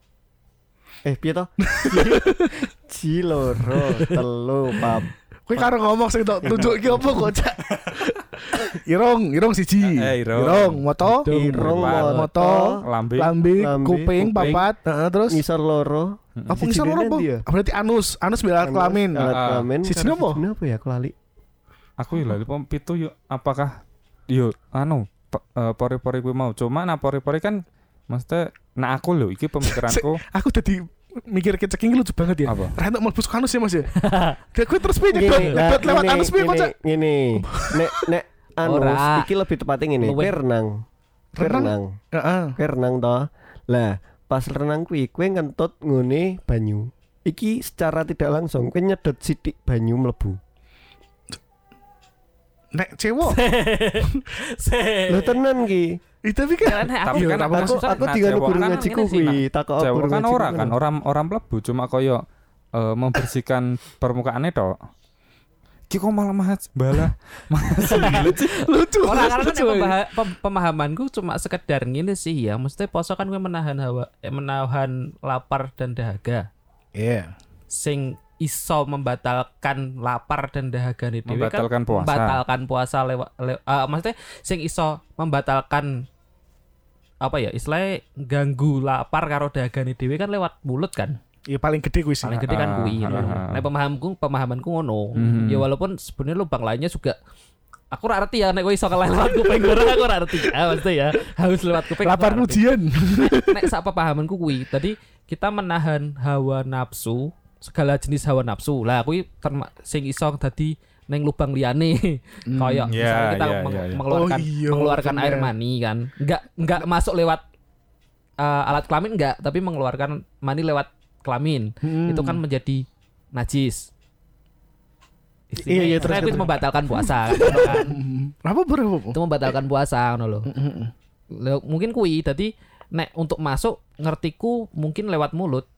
Eh, piye toh? ji loro, telu, pap. Kowe karo ngomong sing tok tunjuk ki apa kok Cak? Irung, irung siji. Eh, irung. moto, Irung, papat, moto, lambe. lambe, Lambe, kuping, kuping. papat, heeh, terus ngisor loro, apa siji ngisor loro dene apa? ndi ya? Ah, Berarti anus, anus ya. biar alat Anu, kelamin. alat Ah. kelamin. Siji Karo apa? siji apa ya aku lali? Aku ya lali pom pitu yuk apakah yuk anu pe- eh, pori-pori gue mau cuma nah pori-pori kan maksudnya nah aku loh iki pemikiranku Aku tadi mikir ke ceking lucu banget ya. Apa? Ra entuk mlebu saka anus ya Mas ya. Kayak kowe terus piye Gini, nyedot lah, nyedot lewat gini, anus piye kok gini, Cak? Gini. Nek nek anus Ora. iki lebih tepatnya ngene, Luwih. kowe renang. Kowe Renang? renang. Heeh. Kowe renang toh. Lah, pas renang kuwi kowe ngentut ngene banyu. Iki secara tidak langsung kowe nyedot sithik banyu mlebu. Nek cewek Lho Eh. tenan ki. Itu tapi kan Karena aku Tapi kan Iya, aku- Aku maksudnya, aku nah, tinggal cewek guru kan ngaji ngene sih, kuwi, nah. takok cewek guru kan ngaji ora ku kan ngono. orang orang mlebu cuma koyo eh, membersihkan permukaannya tok Ki kok malah mahat bala lucu. Orang karena kan lucu, emang baha- pem- pemahamanku cuma sekedar gini sih ya. Maksudnya poso kan gue menahan hawa, eh, menahan lapar dan dahaga. Iya. Sing iso membatalkan lapar dan dahaga nih membatalkan puasa membatalkan puasa lewat lew, ah, maksudnya sing iso membatalkan apa ya istilahnya ganggu lapar karo dagane dhewe kan lewat mulut kan Ya paling gede kuwi sih. paling gede kan Ah, kuwi ah, ah. nah pemahamku pemahamanku ngono Mhm. ya walaupun sebenarnya lubang lainnya juga aku ora ngerti ya nek kowe iso kelewat kuping goreng aku ora ngerti ya maksudnya ya harus lewat kuping aku Lapar ora ngerti. ujian. nek sak pemahamanku kuwi tadi kita menahan hawa nafsu segala jenis hawa nafsu lah kuwi terma- sing iso dadi neng lubang liane Hmm, koyok iya, misalnya kita iya, meng- iya, iya. mengeluarkan Oh, iya, mengeluarkan bener. air mani kan nggak nggak masuk lewat eh, alat kelamin nggak tapi mengeluarkan mani lewat kelamin Hmm. itu kan menjadi najis Iya, iya, terus, Istilahnya itu terus. membatalkan puasa kan. apa berapa itu membatalkan puasa ngono loh Hmm, Lho, mungkin kui tadi nek untuk masuk ngertiku mungkin lewat mulut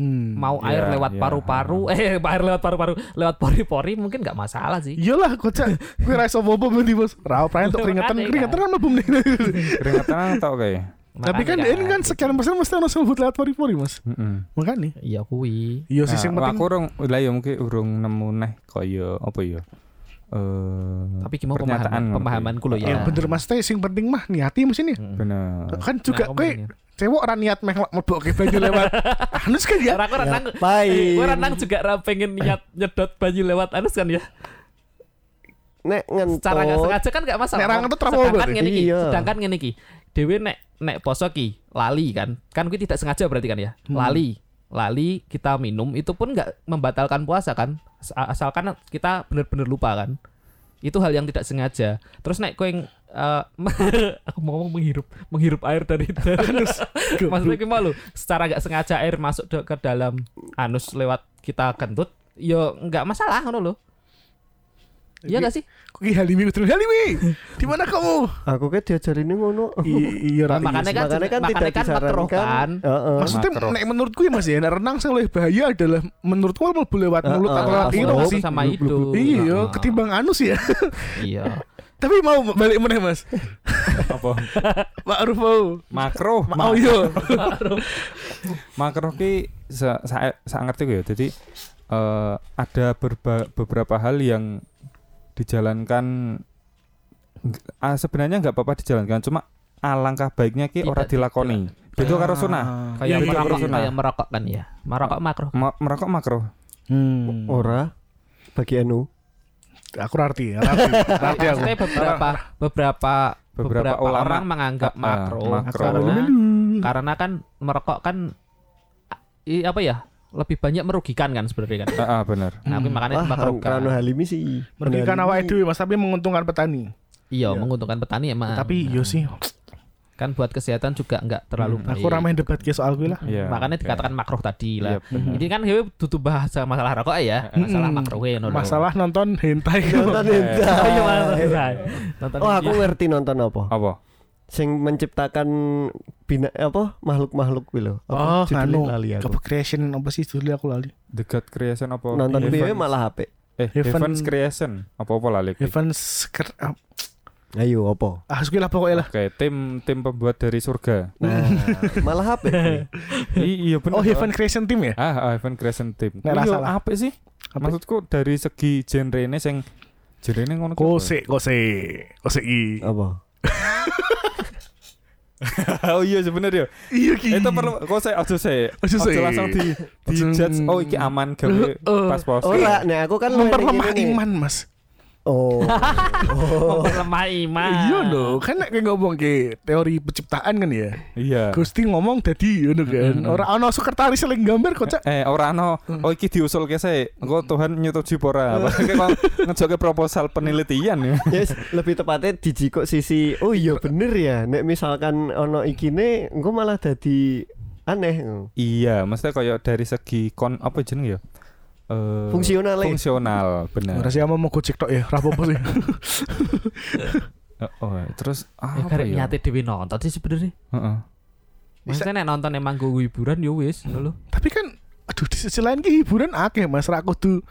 Hmm. mau air Iya, lewat iya. paru-paru eh air lewat paru-paru lewat pori-pori mungkin nggak masalah sih Iyalah kocak Gue rasa bobo berarti bos Rauh prayan untuk keringetan Makanya, kan. Keringetan kan mabum nih Keringetan tau kayak. Tapi kan ini kan sekian persen Mesti harus ngebut lewat pori-pori mas Heeh. Makanya iya kui Iya sih Nah, yang penting aku urung lah ya mungkin urung nemu neh kaya apa ya. Eh tapi gimana Pernyataan pemahaman ngerti. pemahamanku loh ya Yang Iya, bener mas teh Yang penting mah niati mesti nih bener. Kan juga Nah, aku gue mendingan. Cewek orang niat meh Mebok ke banyu lewat Anus kan ya Orang aku renang Ngapain? Gue Eh, renang juga ra- pengen niat nyedot banyu lewat anus kan ya Nek Cara nggak ngentut sengaja kan nggak masalah Nek ra ngentut ra apa Sedangkan berarti? ngene iki Iya. Sedangkan ngene iki Dewi nek nek poso ki Lali kan Kan gue tidak sengaja berarti kan ya Lali Lali kita minum itu pun nggak membatalkan puasa kan As- Asalkan kita bener-bener lupa kan itu hal yang tidak sengaja. Terus nek kowe yang eh, aku mau ngomong menghirup menghirup air dari anus. Maksudnya gimana lu? Secara nggak sengaja air masuk de- ke dalam anus lewat kita kentut, yo nggak masalah ngono lho. Iya nggak sih? Kok ki Halimi terus Halimi di mana kamu? Aku kayak diajarin ngono. I- Iya Rani. Nah, makanya kan Makanya kan tidak makanya kan makruh disarankan. kan. Heeh. Maksudnya Makro. nek menurutku ya Mas ya nek renang sing lebih bahaya adalah menurutku malah lewat Eh, mulut eh, atau lewat langsung hidung masuk sih. sama Blub, blub, hidung. Iya, Nah, ketimbang anus ya. Iya. Tapi mau balik meneh Mas. Apa? Ma'ruf mau. Makro. Mau yo. makro ki sa, sa, sa ngerti gue ya jadi eh, ada berba- beberapa hal yang dijalankan nggak- ah, sebenarnya nggak apa-apa dijalankan cuma alangkah baiknya ki Tidak ora dilakoni itu karo sunah Kayak Iya, merokok, iya, iya. kayak merokok kan ya. Merokok makruh. Ma- merokok makro Hmm. Ora bagi anu. Aku arti, arti. Arti aku. Maksudnya beberapa beberapa Beberapa beberapa, ulama. orang menganggap Ah, makro, makro. karena karena kan merokok kan ah, i- apa ya lebih banyak merugikan kan sebenarnya kan. ah, ah, bener Nah, tapi makanya Wah, makro kan. Rano Halimi sih. Merugikan Rano awake Halimi. dhewe Mas, tapi menguntungkan petani. Iya, menguntungkan petani emang. Tapi yo sih, kan buat kesehatan juga nggak terlalu baik. aku ramai debat ki soal gue lah. Hmm. Iya, Hmm, makanya oke. dikatakan makruh tadi lah. Iya, Hmm. bener. Ini kan hewe tutup bahasa masalah rokok ya, masalah Mm-mm. makruh ya, no, no. Masalah nonton hentai. Nonton Oh, iya, malah hentai. selesai. Nonton Oh, aku video. ngerti nonton apa. apa Sing menciptakan bina apa makhluk-makhluk kuwi lho. Oh, Apa judulnya nganu. lali aku. Eh. Apa creation apa sih dulu aku lali. the god creation apa Iya. Nonton BW Heaven- malah HP. eh Heaven- heaven's creation apa apa lah Lik? Evans ker- ah, Ayo iya, apa? ah gue lah pokoknya lah. oke tim tim pembuat dari surga Nah, malah HP. kuwi. I- iya bener Oh, Heaven Creation Team ya? ah ah, Heaven creation tim Nggak Iya, salah. apa sih Apa? Maksudku dari segi genre ini sing genre ini ngono Kose, kose, kose i. Apa? oh iya sebenarnya. Iya ki. Itu perlu kose aja se. Aja se. Aja langsung di di Aja- judge. Oh iki aman gawe Eh, pas pos. Ora, nek aku kan memperlemah ngene-ngene. iman mas. Oh. Memperlemah iman. Iya loh, kan nek kayak ngomong ke teori penciptaan kan ya. Iya. Gusti ngomong tadi, ya kan. Orang ono sekretaris yang gambar kocak. Eh ora no. Oh iki diusul ke se. Engko Tuhan nyetujui apa Eh. ora. Pakai kok ngejoke proposal penelitian ya. Yes, lebih tepatnya dijikok sisi. Oh iya bener ya. Nek misalkan ono ikine, engko malah dadi aneh. Iya, maksudnya kayak dari segi kon apa jeneng ya? Eh, Fungsional, Le. Fungsional, bener. Orang sih ama mau gojek tok ya, rapopo sih. Eh, Oh, terus Ya, apa karek ya? nyate dewi nonton sih sebenarnya. Heeh. Maksudnya nek nonton emang gue hiburan yo wis ngono lho. Tapi kan, aduh di sisi lain ki hiburan akeh mas. Raku tuh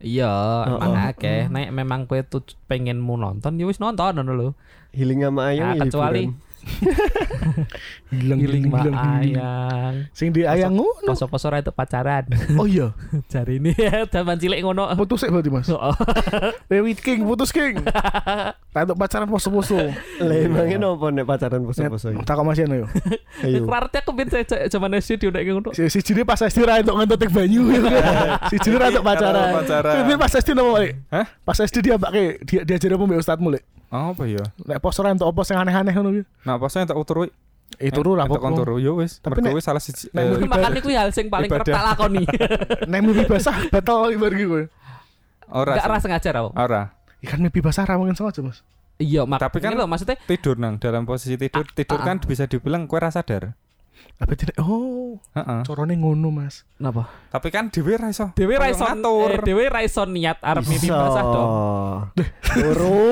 Iya, emang Heeh. akeh. Nek memang kowe tuh pengen mau nonton yo wis nonton ngono lho. Healing sama ayam Nah, ya kecuali hiburan. hilang Oh, giling mbak iya. ayang. ayang. Sing di ayang ngono. Poso-poso ra itu pacaran. Oh iya, Jari ini zaman cilik ngono. putus ya berarti mas. Oh, Dewi King, putus King. Tak untuk pacaran poso-poso. Iya. Lah iya, emangnya nopo nek pacaran poso-poso iya. iki? Tak kok masih ayo. Ayo. Artinya aku bin zaman SD diundang ngono. Si si jine pas SD ra entuk ngentot banyu. si jine ra entuk pacaran. Entuk pacaran. Kowe biyen pas SD nopo, Lek? Hah? Pas SD dia mbake dia diajari apa mbek ustadmu, Lek? Ah, Apa ya? Nek pos ora entuk apa sing aneh-aneh ngono kuwi. Nah, pasnya tak utur Eh turu lah Kita kon pokoknya turu yo wis. Tapi Mergo nek- wis salah siji. nek eh, mungkin- Makanya kuwi hal sing paling kerep Ibadah. tak lakoni. Nek mimpi basah batal iki bar iki kowe. Ora Enggak sih. ras sengaja Raul. Ora. Ikan mimpi basah ra mungkin sengaja, Mas. Iya, mak Tapi kan- ini loh maksudnya Tidur nang dalam posisi tidur. Ah, Tidur kan bisa dibilang kue rasa sadar. Apa tidak? Oh, Heeh. corone ngono, Mas. napa? Tapi kan dhewe ra iso. Dewi Kaya Raison ngatur. eh, Dewi Raison niat arep mimpi basah dong. Oh. Turu.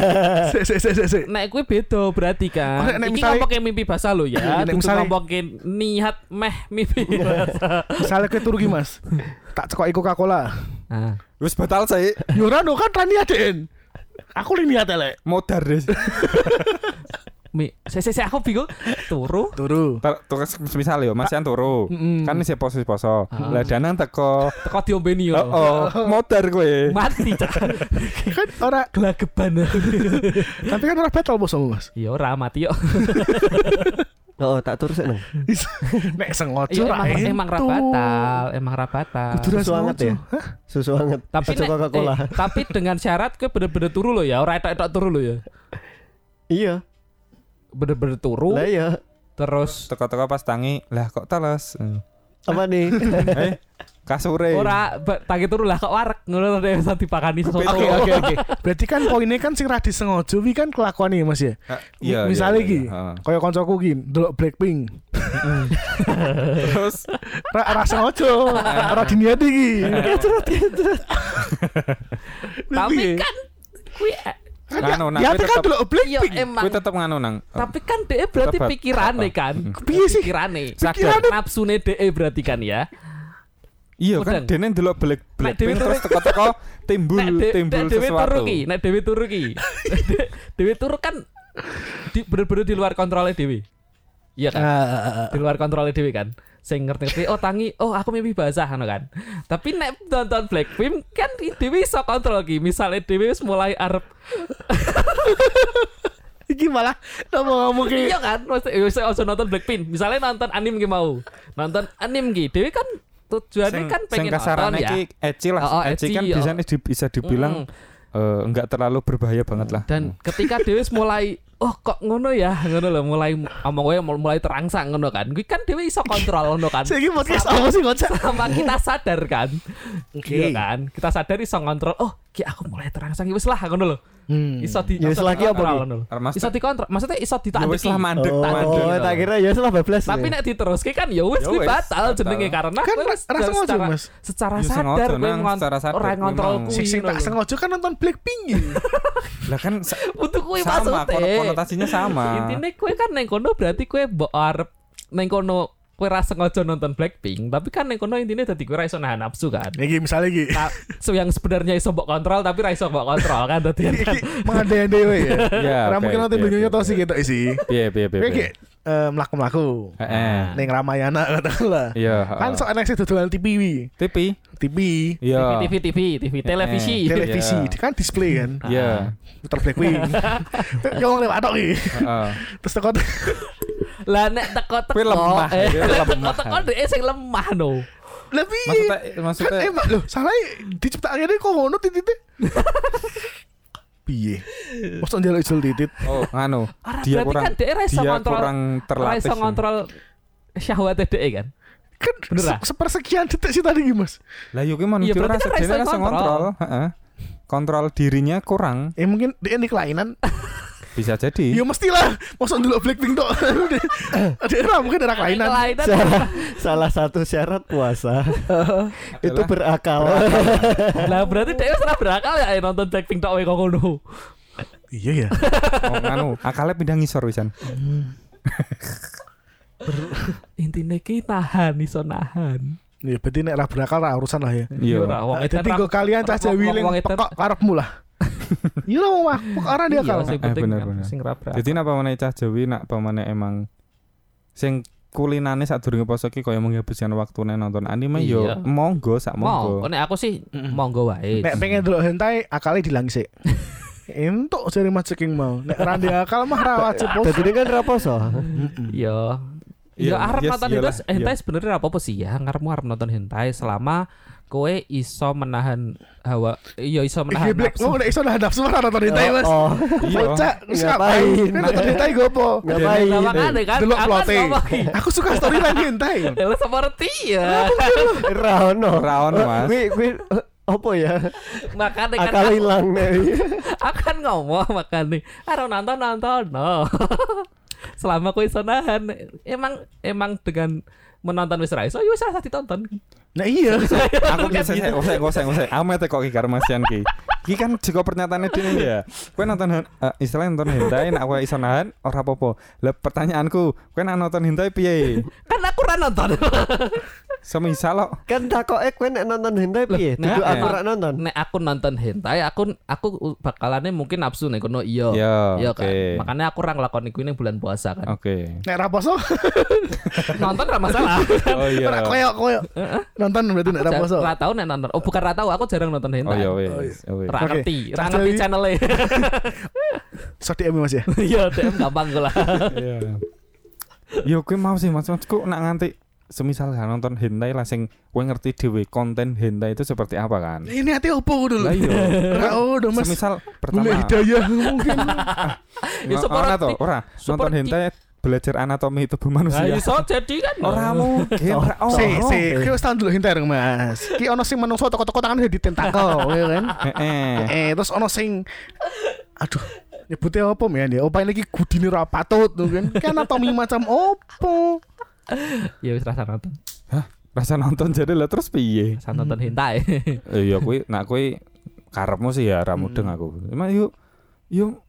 Sik sik sik sik, sik. Nek kuwi beda berarti Oh, kan. nek- nek Iki misalnya- ngomongke mimpi basah lo ya. Nek Iya. Nek misalnya- ngomongke niat meh mimpi basah. Misalnya kowe turu ki, Mas. Tak cekoki Coca-Cola. Ah. Wis batal sih. Yo ora no kan ra niatin. Aku li niat elek. Modar wis. Mi, saya saya aku bingung. Turu. Turu. Ter- Terus misal yo masih turu. Ah, Mm-mm. Ah. Kan isih posisi poso. Lah danang teko. Teko diombeni yo. Oh, oh, modar kowe. Mati cak. Kan ora Gelageban. tapi kan ora battle bosomu, Mas. Iya ora mati yo. Oh, tak turu sik neng. Nek sengaja Iya ra. entu. emang emang ra batal, emang ra batal. Kudu ra Susu anget sengaja. ya? Hah? Susu anget. Tapi Susu nek- Coca-Cola. eh, tapi dengan syarat kowe bener-bener turu lo ya, ora etok-etok turu lo ya. Iya. Bener-bener turu Lah iya. terus Teko-teko pas tangi. Lah kok teles. Hmm. Apa nih? Eh, kasure. ora ba- tangi turu lah kok warek ngono ada yang bisa dipakani sesuatu. Oke oke oke. Berarti kan poinnya kan sing ra disengaja wi kan kelakuan iki Mas ya. Ah, Iya, iya, Misalnya iya, iki, iya. Ah. kaya koncoku iki ndelok Blackpink. Terus Ra ra sengaja, ra diniati iki. Iya. Tapi kan kuwi nganu nang ya kowe kan tetep ndelok yo Blackpink. iya, emang kowe tetep nganu nang. tapi kan DE berarti Tetep- pikirane tetep. kan. Mm. Piye sih? Pikirane. Sadar. Nafsune DE berarti kan ya. Iya Udang. kan dene ndelok black black Dewi turu- terus teko-teko timbul Nek de- timbul nek Dewi turu sesuatu. ki, nek Dewi turu ki. De- Dewi turu kan di, bener-bener di luar kontrolnya Dewi. Iya kan? Ah. di luar kontrolnya Dewi kan sing ngerti-ngerti oh tangi oh aku mimpi basah anu kan tapi nek nonton Blackpink kan di- Dewi iso kontrol ki misalnya Dewi wis mulai arep Iki malah nopo ngomong ki. iya kan mesti yo aja nonton Blackpink misalnya nonton anime ki mau nonton anime ki Dewi kan tujuannya kan pengen nonton kasarane ya iki eci lah. Oh, oh, eci ecchi, kan oh. bisa di- bisa dibilang eh, enggak terlalu berbahaya banget lah. dan ketika Dewi wis mulai oh kok ngono ya ngono loh mulai omong gue mulai terangsang ngono kan gue kan Dewi iso kontrol ngono kan Sik iki podcast apa sih kocak? sama kita sadar kan Oke. iya kan kita sadar iso kontrol oh ki aku mulai terangsang ya wis lah ngono loh Hmm. iso di Ya wis iso lagi apa dikontrol ki? ngono lho. Mas- iso dikontrol maksudnya iso Ya wis ditandeki lah mandek Oh, mandek. oh, tak kira ya salah bablas. tapi Iya. nih. nek diteruske kan ya wis Ya kuwi wis, batal batal. jenenge karena Kan kowe ra- wis ra sengaja, secara Mas. secara Ya sengaja, sadar kowe Nang, ngon- secara sadar ora memang. ngontrol kuwi Sing sing ngono tak lho. sengaja kan nonton Blackpink ya. Lah kan sa- Untuk kuwi sama maksudnya. kon- konotasinya sama. intine kowe kan neng kono berarti kowe mbok arep neng kono kowe ra sengaja nonton Blackpink tapi kan neng kono intine dadi kowe ra iso nahan nafsu kan Iki misalnya iki. Ta- so yang sebenarnya iso mbok kontrol tapi ra iso mbok kontrol kan dadi kan. Iki mengandai-andai wae ya. Ya, Ora oke, mungkin nonton oke, bingungnya oke, tau sih oke. gitu isi. Piye piye piye. Kowe ki piye. eh, melaku-melaku. Heeh. Ning Ramayana katakanlah. Iya. Kan heeh. sok anak sih dodolan TV wi. TV. TV, Iya. TV TV TV televisi Eh, televisi, Iya. kan display kan. Nah. Iya. Putar Blackpink. Ngomong lewat tok iki. Heeh. Terus tekot lah nek teko-teko Kowe lemah, eh, kowe nek lemah. teko-teko dhek sing lemah no lebih. Maksudnya Kan maksudnya emang loh, salah diciptakan ini kok ngono titik-titik. Piye? Mosok njaluk jul titit. oh nganu. Ora, Dia berarti kurang kan dia ra iso dia kontrol- kurang ora terlatih. iso ngontrol syahwate dhek kan Kan Bener se- ah? sepersekian detik sih tadi iki, Mas. Lah yo ki Iya, manusia berarti ora kan ra iso sedene langsung kontrol. kontrol, heeh. Kontrol dirinya kurang Ya mungkin dia ini kelainan. bisa jadi. Ya Iya, mestilah. Mosok ndelok Blackpink tok. Dia ora mungkin ada kelainan. kelainan Salah, salah satu syarat puasa itu berakal. lah berarti dhek wis ora berakal ya ayo nonton Blackpink tok wae kok ngono Iya ya. Oh, nganu, akalnya pindah ngisor wisan. intine ki nahan iso nahan Ya berarti nek ra berakal ra urusan lah ya. Iya. ora wong Nah, edan Tapi ra- gue kalian cah wong- Jawi wong- ling wong edan- pekok karepmu lah. Iya lah wong mabuk orang dia Iya, kalau. sing Eh, penting bener, kan, bener. sing ra berakal. Jadi napa meneh cah Jawi nak pamane emang sing kulinane sadurunge poso ki kaya menghabiskan waktune nonton anime yo Iya. monggo sak mau monggo. Oh, nek aku sih Mm-mm. monggo wae Nek pengen delok hentai akalnya dilangi sik. Entuk jare Mas Ceking mau. Nek ra dia akal mah ra wajib bos. Jadi ini kan raposo. Yo. Yo Iya, arep yes, nonton iyalah, iya. hentai, hentai sebenarnya apa apa sih ya? Ngarepmu arep nonton hentai selama kowe iso menahan hawa, iya Iki iso menahan Black nafsu. mau nek iso nahan nafsu ora nonton hentai Mas. Oh, Iya. Bocah wis Ngapain? ngapain? Nek nonton hentai gue apa? ngapain? Lah makane kan Delok aku kan plote. ngomong, iya. Aku suka storyline hentai. "Ya, lu seperti ya. Raono. Ra ono, Mas. Wi, wi, Apa ya? makanya kan Akal aku, hilang nih. aku kan ngomong makanya karo nonton nonton no selama aku iso nahan emang emang dengan menonton wis ra iso yo wis ra usah ditonton Nah iya. aku kan saya ngosek ngosek ngosek amat kok ki karo Masian ki ki kan juga pernyataannya dia ya kue nonton eh, istilahnya nonton hentai nak kue iso nahan ora popo lah pertanyaanku kue nak nonton hentai piye kan aku ra nonton semisal lo kan takoke kowe nek nonton hentai piye? nah, Duduk aku eh. ora nonton. nek aku nonton hentai aku aku bakalannya mungkin nafsu nek kono iya Ya, iya oke. kan makanya aku ra nglakoni kuwi ning bulan puasa kan oke Nek raposo, nonton ra masalah oh iya ora koyok koyok. Nonton berarti nek raposo. ra tau nek nonton oh bukan ra tau aku jarang nonton oh hentai iya Oh, wes oh, wes. ra Oke. ngerti ra Cak ngerti Dewi. channelnya So DM Mas ya. iya DM gampang gue lah Iya. Yo kowe mau sih Mas, maksudku nak nganti semisal gak nonton hentai lah sing kowe ngerti dhewe konten hentai itu seperti apa kan. Nah, Ini hati opo kudu Lah lho. iya. Ora ono Mas. Semisal Boleh pertama. hidayah mungkin. Ya, ngo- seperti- Ora to, ora. Nonton seperti- hentai belajar anatomi tubuh manusia. Nah, iso jadi kan Iya. Ora mungkin, ora ono. Si si, ki wis tahun dulu hintar Mas. Ki ono sing menungso toko-toko tangan jadi tentakel, ya kan? Heeh. Eh, terus ono sing aduh nyebutnya apa ya dia opa ini ki gudine ora patut tuh kan kan anatomi macam opo ya wis rasa nonton Rasa nonton jadi lah terus piye? rasa nonton hentai Eh, Iya kowe nak kowe karepmu sih ya ra Hmm. mudeng aku. Emang yuk yuk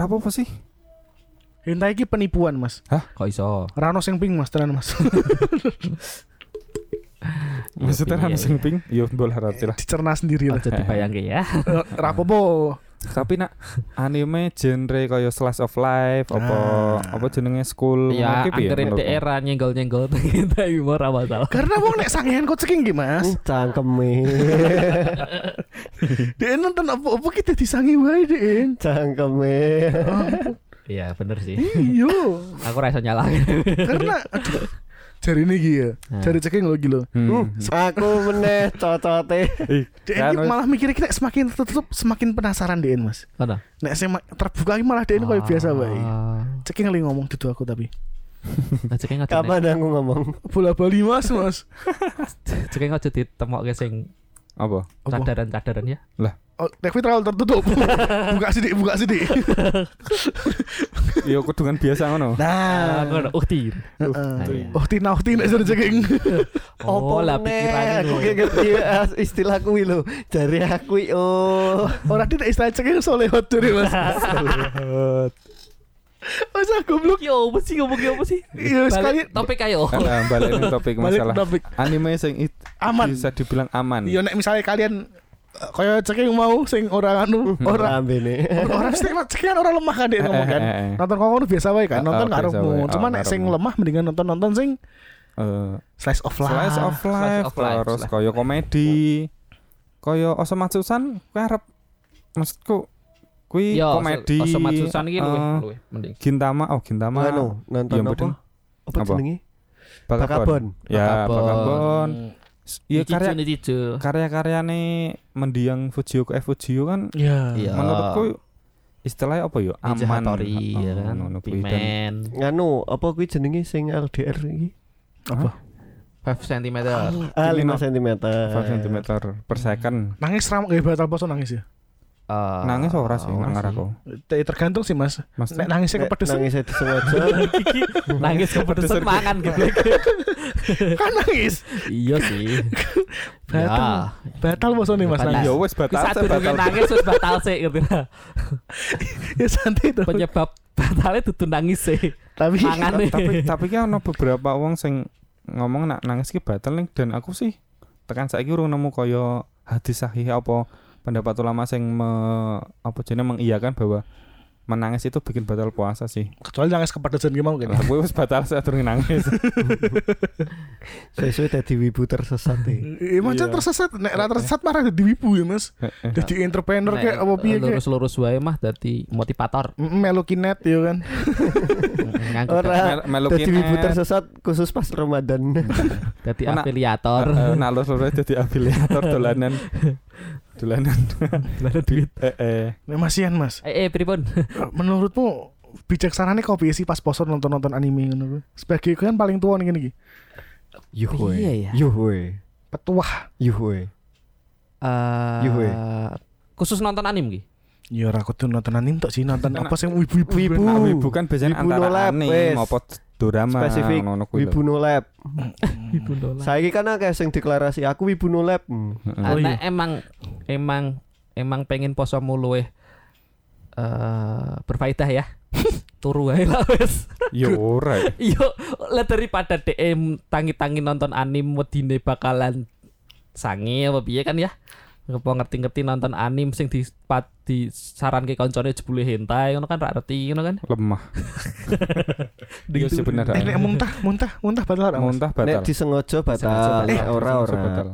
apa sih? hentai ki penipuan mas kok iso Rano sing pink mas tenan mas Ya, Maksudnya piye, kan sing pink, yo bolah rati lah. dicerna sendiri lah aja dibayangke ya Eh, rapopo tapi nak anime genre kaya slice of life apa Ah. apa jenenge school ya ngono ki piye angkerin menurutmu? daerah nyenggol nyenggol kita humor apa tau karena wong nek sangean kucing ki mas Ih, Cangkeme, Dia nonton apa-apa kita disangi wae Dien. cangkeme. iya bener sih Iya. aku rasa nyala Karena aduh. Jari ini gitu ya. Jari ceking lo gila. hmm. Hmm, Aku meneh cocote. Ih, Dien kan, malah mikirnya kita semakin tertutup semakin penasaran Dien mas. mana Nek sema- terbuka ini malah Dien Ah. kayak biasa wae. Nah, Ceking lagi ngomong gitu aku tapi. Cekeng aja nih. Kapan aku ngomong? Bola bali mas mas. Cekeng aja ditemokke sing apa Apa? cadaran-cadaran ya. Oh, Nek Fitra tertutup. buka sidik, buka sidik. yo kudungan biasa ngono Ah, ngono. Uh, tir. Heeh. Oh, tina, oh, tina, jari ceking. Oh, lah ya. pikiran aku gak ngerti eh, istilah kuwi lho. Jari aku i, oh. Orang tidak istilah ceking solehot jari mas. Mas aku belum. Yo, apa sih ngomong apa sih? Iya, sekali. Balik topik ayo. Eh, balik nih Balik topik ke masalah topik. anime sing it- Aman. bisa dibilang aman Iya nek misalnya kalian eh, kaya ceking mau sing ora anu ora Ora ambene. ora mesti ceking orang lemah kan dia ngomong kan. Eh, eh, eh. Nonton kok ngono biasa wae kan. Eh, Nonton eh, karo biasa wae. Cuma Oh, nek ngarepmu. sing lemah mendingan nonton-nonton sing Eh, slice of life. slice of Slice life of life, terus slice kaya komedi kaya osomatsusan kuwi arep maksudku kuwi Yo, komedi Osomatsusan iki luwih eh, luwih mending. Gintama oh Gintama Mano, Anu, nonton Iya, apa? betul. Apa Apa? jenenge? Bakabon. Bakabon. Ya, Bakabon. Bakabon. Iya Ichijo karya ni Ichijo. karya-karyane mendiang Fujio ke eh, Fujio kan Iya. Iya. menurutku istilahnya apa ya Ninja aman Hattori ya kan. ngono kuwi. Dan- Pimen. Nganu, Anu, apa kuwi jenenge sing LDR iki? apa 5 cm. Ah, 5 Lima- cm. Eh. 5 cm per second Nangis ram nggih batal poso nangis ya. Ah, Ah, nangis ora sih nang aku Te- Tergantung sih Mas. Mas Nek nangisnya kepedesan Nangis disengaja. Nangis kepedesan mangan gitu. kan nangis. Iya sih. Batal. Batal poso nih Mas Batal. nangis. ya wes Ya. Wis batal satu saya nunggu batal nangis terus batal sih gitu. Ya santai tuh. Penyebab batalnya tutu nangis sih. Tapi Mangan nih. tapi tapi kan ono beberapa wong sing ngomong nak nangis ki batal nih dan aku sih tekan saiki urung nemu kaya hadis sahih apa pendapat ulama sing me, apa jenenge mengiyakan bahwa menangis itu bikin batal puasa sih. kecuali nangis kepedesan gimana mungkin. Lah gue wis batal saya durung nangis. Sesuai tadi wibu tersesat e. iki. Eh, macam Iya. tersesat, nek ra tersesat marah jadi wibu ya Mas. Jadi entrepreneur kayak apa piye kayak Lurus lurus wae mah dadi motivator. melu kinet ya kan. Nganggo Ora Mel- melu tadi wibu kinet. tersesat khusus pas Ramadan. dadi Mana- afiliator. Eh, nalur lur jadi afiliator dolanan dolanan Mana duit? eh eh Nek masian Mas. Eh eh pripun? menurutmu bijaksana nih kopi sih pas poso nonton nonton anime ngono kuwi? sebagai kan paling tua nih gini Yuhue. Iya, iya. Yuhue. petuah Yuhue. eh, Yuhwe. khusus nonton anime ki. Ya ora kudu nonton anime tok sih nonton Enak. apa sih ibu-ibu. Wibu. Nah, wibu kan Wibu biasanya no antara lab, anime wes. ngopo drama Spesifik, ngono kuwi lho. Wibu no lab. Ibu dolar. Saiki kan akeh sing deklarasi aku Wibu no lab. Hmm. Heeh. Oh, Anak iya. emang emang emang pengen posomu luweh eh berfaedah ya. Turu ae lah wes. Ya ora. ya. Yo, lah daripada DM tangi-tangi nonton anime wedine bakalan sange apa piye kan ya. Apa ngerti-ngerti nonton anime sing di di saranke koncone jebule hentai ngono kan ra ngerti ngono kan. Gitu. Lemah. Iya sih bener. Eh nek muntah, muntah, muntah batal ora, Mas? Muntah batal. Eh, Nek disengaja Disengaja batal. batal. Nek ora ora. Batal.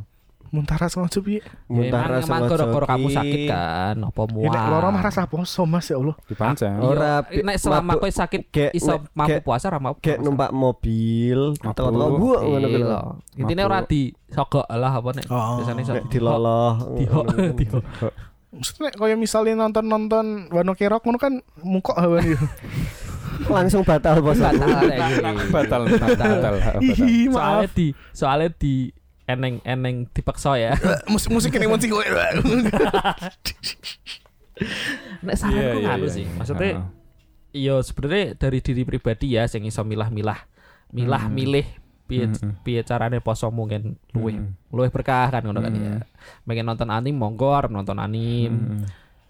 Muntah ras ngono piye? Muntah Ya, Emang- rasa emang gara-gara kamu sakit kan apa Ya mual. nek lara mah rasa poso Mas ya Allah. Dipancen. Oh. Ora, Yo, nek selama mabuk- kowe sakit Gek iso nek- mampu gek- puasa ra mampu. gek numpak mobil, Mabuk. tau-tau gua ngono kuwi Iya. lho. Intine Iya. Mabuk. ora di sogok lah apa nek Oh. biasane iso Nek diloloh. Diho, ngono kuwi. diho. Maksudnya kayak misalnya nonton-nonton Wano Kerok ngono kan mukok hawan yo. Langsung batal bos. Batal ya, iya. iki. Batal. Batal. Batal. Hihi, Soalnya Iya, maaf. di soalnya di eneng-eneng dipaksa ya. Musik musik kene mesti kowe. Nek Iya, saranku iya, nganu iya, sih. iya. Maksudnya Heeh. iya sebenarnya dari diri pribadi ya sing iso milah-milah milah Hmm. milih piye Hmm. piye carane poso mungkin luwih Hmm. luwih berkah kan ngono kan Hmm. ya. Pengen nonton anime monggo arep nonton anime. Heeh.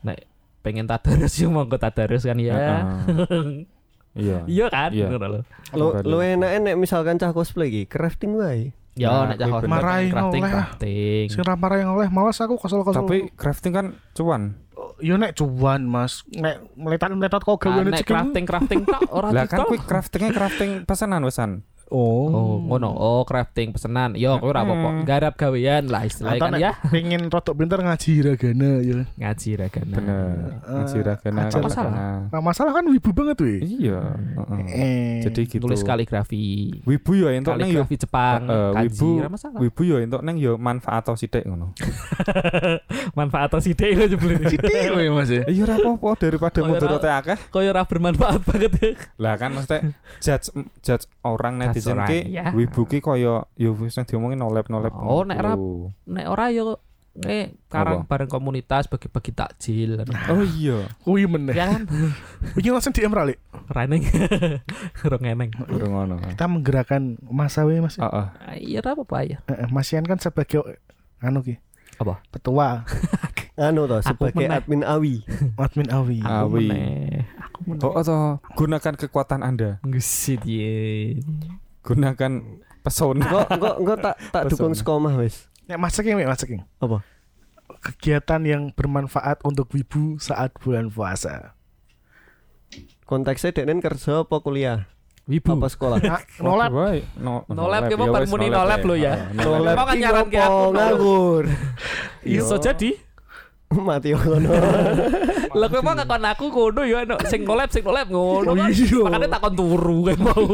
Nek pengen tadarus yo monggo tadarus kan ya. Iya. Iya kan Iya. ngono lho. Lu Batal. lu enak nek misalkan cah cosplay iki crafting wae. Ya Nah, nek cah kuwi hormat bener. Marahin crafting oleh. crafting. Sing ra marah yang oleh malas aku kesel-kesel. Tapi crafting kan cuan. yo nek cuan Mas, nek meletat-meletat kok Nah, gaweane Nek crafting crafting tak ora Lah kan ditoh. kuwi craftingnya crafting pesanan pesan. Oh, ngono. Oh, crafting pesenan. Yo, kowe ora apa-apa. Mm. Garap gawean lah istilahnya Atau kan nek ya. pengen rotok pinter ngaji hiragana ya. Ngaji ragana. Bener. Eh, Ngaji ragana. ajar katakana. masalah. Nah, masalah kan wibu banget weh. Iya. heeh. Eh. Jadi gitu. Nulis kaligrafi. Wibu ya entuk neng yo Kaligrafi Jepang, Eh, kanji, wibu- ora masalah. Wibu yo entuk neng yo manfaat atau sithik ngono. Manfaat atau sithik lho jebule. Sithik weh Mas ya. Iya ora apa-apa daripada Oh, ya, mudorote akeh. Koyo ora bermanfaat banget. Lah kan maksudnya judge judge orang Judge netizen orang, ki iya. wibu ki koyo yo wis nang diomongin nolep-nolep. Oh, nek rap. ngono. Nek ora yo eh karang Apa? bareng komunitas bagi-bagi takjil. Oh iya. Kuwi meneh. ya kan? Iki langsung DM ra Lik. Raneng. Rong eneng. Ora ngono. Kita menggerakkan masa weh Mas. ya. Heeh. Ah, Iya ora apa-apa ya. Eh, eh, Mas Ian kan sebagai anu ki Apa? petua Anu toh Aku sebagai meneh. admin awi. admin awi. Ah. Awi. meneh. Aku meneh. Oh, atau gunakan kekuatan Anda. Ngesit ye. Gunakan pesona. Engko engko engko tak tak Pesona. dukung sekomah wis. Nek Mas King, Mas King. Apa? Kegiatan yang bermanfaat untuk wibu saat bulan puasa. Konteksnya denen kerja apa kuliah? Wibu. Apa sekolah? Nah, nolak Wae, no- Nolep ki apa Ya wes, penmuni nolep ya. lo ya. Heeh, nolep. Nolep Kok kan ki nyaran ke opo aku, Nol? nganggur? Iso jadi. Mati yo ngono. Lah kowe mau ngakon aku ngono ya no. sing collab sing collab ngono. kan. Makane takon turu kowe mau.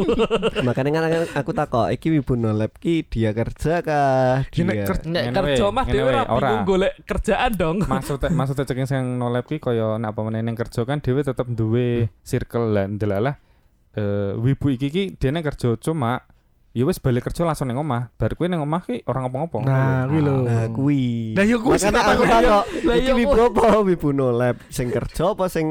Makanya kan aku- aku takok iki wibu no lab ki dia kerja kah? Dia nek Dia. kerja. Nek Ngene kerja weh, mah ngene dhewe weh, ora ora. bingung golek kerjaan dong. Maksudnya maksudnya ceking sing nolep ki kaya nek apa meneh ning kerja kan dhewe tetep duwe circle lan delalah eh wibu iki ki dene kerja cuma ya wis balik kerja langsung ning omah. Bar kuwi ning omah ki ora ngopo-ngopo. Nah, kuwi lho. Nah, kuwi. Lah, ya kuwi sing Makanya aku takut. takok. Lah, Iki ya wibu apa? Wibu no lab sing kerja apa sing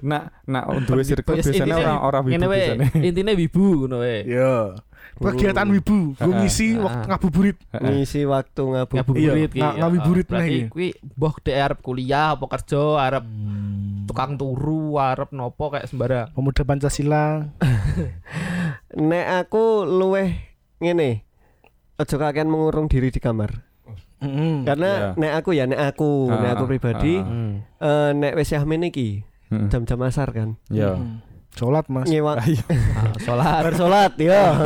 Nak nak duwe circle Yes, biasanya intinya- ora ora wibu Ngene weh, biasane. intine wibu ngono weh. Ya. Kegiatan wibu, gue Ah, ngisi ah. waktu ngabuburit. Heeh. ngisi waktu ngabuburit? Ngabuburit Nah, Iya, nga- ngabuburit Berarti meneh iki. kuwi mbah dhek arep kuliah apa kerja, arep tukang turu, arep nopo kayak sembarang. Pemuda Pancasila. Nek aku luweh ngene. Ojo kakean mengurung diri di kamar. Mm-mm. Karena Iya. nek aku ya nek aku, nek aku Ah, pribadi ah. eh, nek wis yahmen iki Heeh. jam-jam asar kan. Hmm. Ya. Mm. Sholat mas. Nyewa Ayo. Nah, Salat. bersolat ya.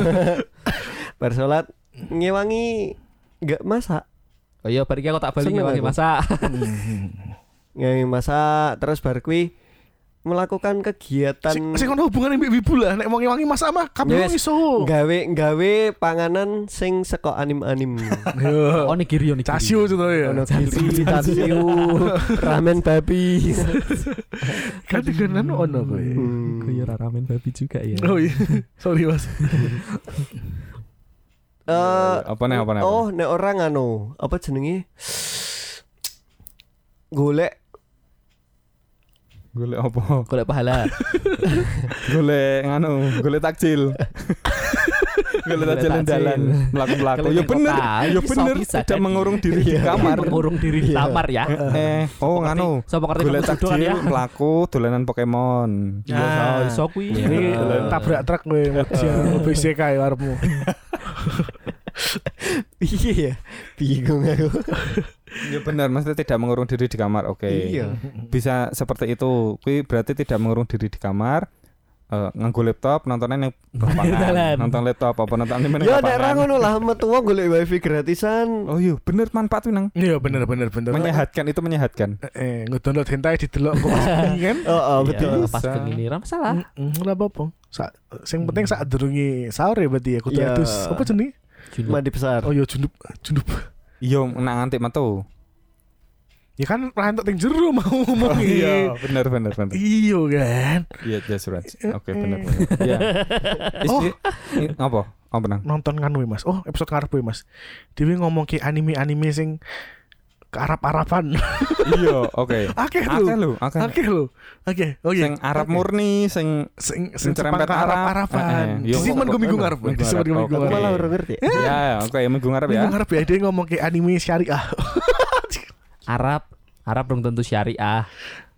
bersolat ngewangi nggak masak Oh iya bariki aku tak balik Seneng lagi aku. masak. ngewangi masak terus bar kui melakukan kegiatan Sing sing ono hubungan mbek wibu lah nek wangi-wangi masak mah kabeh Yes. iso. gawe gawe panganan sing seko anim anim Yo. Onigiri onigiri. Casio contohnya ya. ono Iya. gitu. gizi tatsu ramen babi Kan tegenan ono kowe. Hmm. iya. iya. Gue ya ramen babi juga ya. Oh iya, sorry mas. Eh, Apa nih apa nih? apa nih? Oh, nek orang anu, apa jenenge? Golek Golek apa? golek pahala Golek nganu, golek takjil. golek Golek takjil yang takjil. dalan melaku-melaku. Golek Ya bener, kota. ya Bisa, bener bisa tidak jadi. Iya. mengurung diri di kamar. mengurung diri di Iya. kamar ya Eh, oh nganu. Sopo ngerti Golek kamu sudoan takjil melaku dolanan Pokemon. Iya, Ah. so- iso kuwi. Ini Iya. tabrak truk gue Mobil BCK ya warmu piye ya? Bingung aku. Ya benar, maksudnya tidak mengurung diri di kamar. Oke. Iya. Bisa seperti itu. Kuwi berarti tidak mengurung diri di kamar. Eh, nganggo laptop nontonnya yang Dalan. lapangan nonton laptop apa nonton di mana Ya nek ra lapangan. ngono lah metu wong golek wifi gratisan. Kan oh iya bener manfaat tuh nang Iya bener bener bener menyehatkan itu menyehatkan Eh, ngedownload hentai di delok kok pas bengi kan? Oh, oh, Iya, betul. pas Bisa. begini ra masalah Heeh, ora apa-apa. Sa sing penting sak durunge sahur ya berarti ya kudu Iya. adus. Apa jenenge? Junub. Mandi besar. Oh ya junub, junub. iya nang antik metu Ya kan ra entuk ting jero mau ngomong iya bener bener bener Iya kan. iya that's right oke bener bener iya Oh. Is- i- apa apa nang Nonton kan we, Mas. Oh, episode ngarep we, Mas. Dewi ngomong ke anime-anime sing ke Arab-Araban. iya oke Akeh akeh lho. lho akeh Akeh iya. lho. Oke, oke. sing Arab Oke. murni sing sing sing cerempet Jepang ke Arab. Eh, Arab-Araban. eh, iya, Disimpan pokok- gue minggu pokok- ngarep. minggu Disimpan gue ngarep. minggu Aku Aku ngarep. malah ora ngerti. ya oke minggu ngarep ya Iya. Minggu ngarep ya dia ngomong ke anime syariah. Arab Arab belum tentu syariah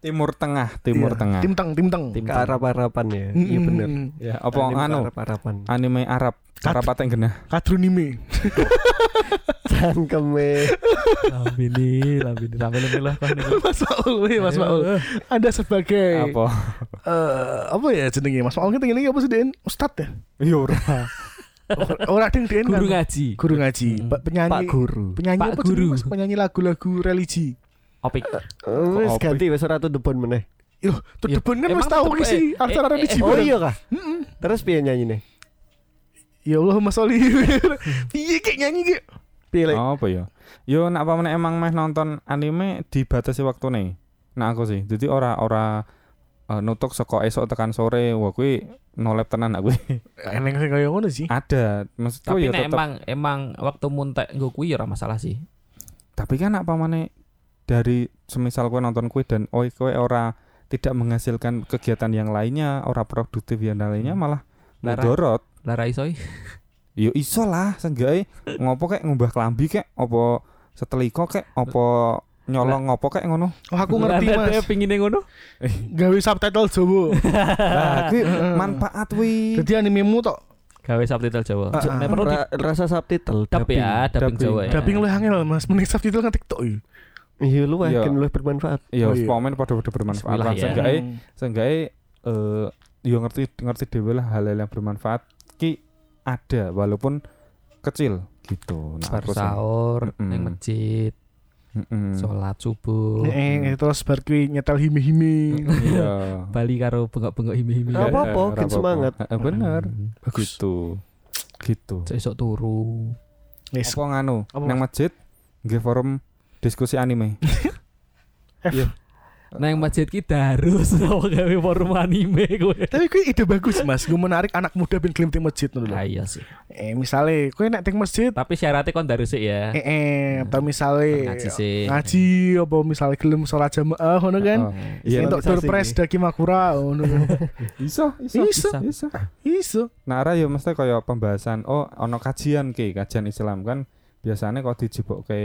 timur tengah timur Iya, tengah Tim teng, tim teng. tim Ke arah-arapan ya. Iya Mm, bener. mm, mm. ya apa anu Arah-arapan. anime Arab Kat- Arab pateng genah Kadrunime. Cangkeme. lambini lambini sampai lebih lah Mas Paul, weh, Mas Iya. Paul. Anda sebagai apa eh, apa ya jenenge Mas Paul kita ini apa sih Den? Ustad ya? iya ora Orang ding Den kan? guru ngaji Guru ngaji, Pak penyanyi. Pak guru. Penyanyi Pak apa jenenge, guru. Mas? Penyanyi lagu-lagu religi. opik Oh, Wis Kok ganti wis ora tudebon meneh. Loh, tuh Ya, depan kan emang wis tahu tetep, ki sih eh, acara eh, religi. eh, Oh bareng. iya kah? Terus piye nyanyine? Ya Allah Mas Oli. Piye kek nyanyi kek? Piye lek? apa ya yo nak apa meneh emang meh nonton anime dibatasi waktu nih nah aku sih jadi ora ora eh, nutuk saka esok tekan sore wah kuwi nolep tenan aku Eneng Eh, sing kaya ngono sih. ada maksudku tapi ya nek tetep emang emang waktu muntek nggo kuwi ya ora masalah sih tapi kan apa mana dari semisal kue nonton kue dan oi kue ora tidak menghasilkan kegiatan yang lainnya ora produktif yang lainnya malah Hmm. Lara. mudorot lah ra iso eh. ih. yo Ya iso lah seenggaknya ngopo kek ngubah kelambi kek opo seteliko kek opo nyolong ngopo kek ngono Oh, aku ngerti Lah, ada Mas. pingine ngono Gawe subtitle Jawa. Ah. nah kuwi manfaat wi Jadi animemu tok gawe subtitle Jawa Ah, ah. nek perlu di Ra- Rasa subtitle dub dubbing. ya dubbing Dubbing. Jawa ya dubbing lu angel Mas. Mending subtitle ngetik tok yo. Iya lu Iya. kan lu bermanfaat. Oh yo iya. spomen pada pada bermanfaat Bismillah lah ya. seenggaknya seenggaknya eh, yo ngerti ngerti dewe lah hal-hal yang bermanfaat ki ada walaupun kecil gitu nah, bar aku sih. sahur Mm-mm. ning masjid Mm. Mm-mm. sholat subuh Eh, terus bar kuwi nyetel himi-himi. iya Bali karo bengok-bengok himi-himi Gak apa-apa, Eh, bikin gak apa-apa. semangat. Eh, bener Bagus. gitu gitu Hmm, Cek Mm. esok turu Yes. apa nganu Apa, nang masjid nggih forum diskusi anime nang masjid ki darus apa gawe forum anime kowe Tapi kuwi ide bagus Mas, gue menarik anak muda ben keliling tim masjid ngono lho. Ah, iya sih Eh misale kowe nek tim masjid tapi syaratnya kon darus sih ya eh, eh atau misale Ngaji sih. ngaji apa misale gelem sholat jamaah ngono kan. Oh, iya Entuk tur bisa sih, pres Ki. daki makura ngono kan. iso iso Iso. iso Iso. nah ra yo mesti kaya pembahasan oh ono kajian ki kajian Islam kan biasanya kok dijebok ke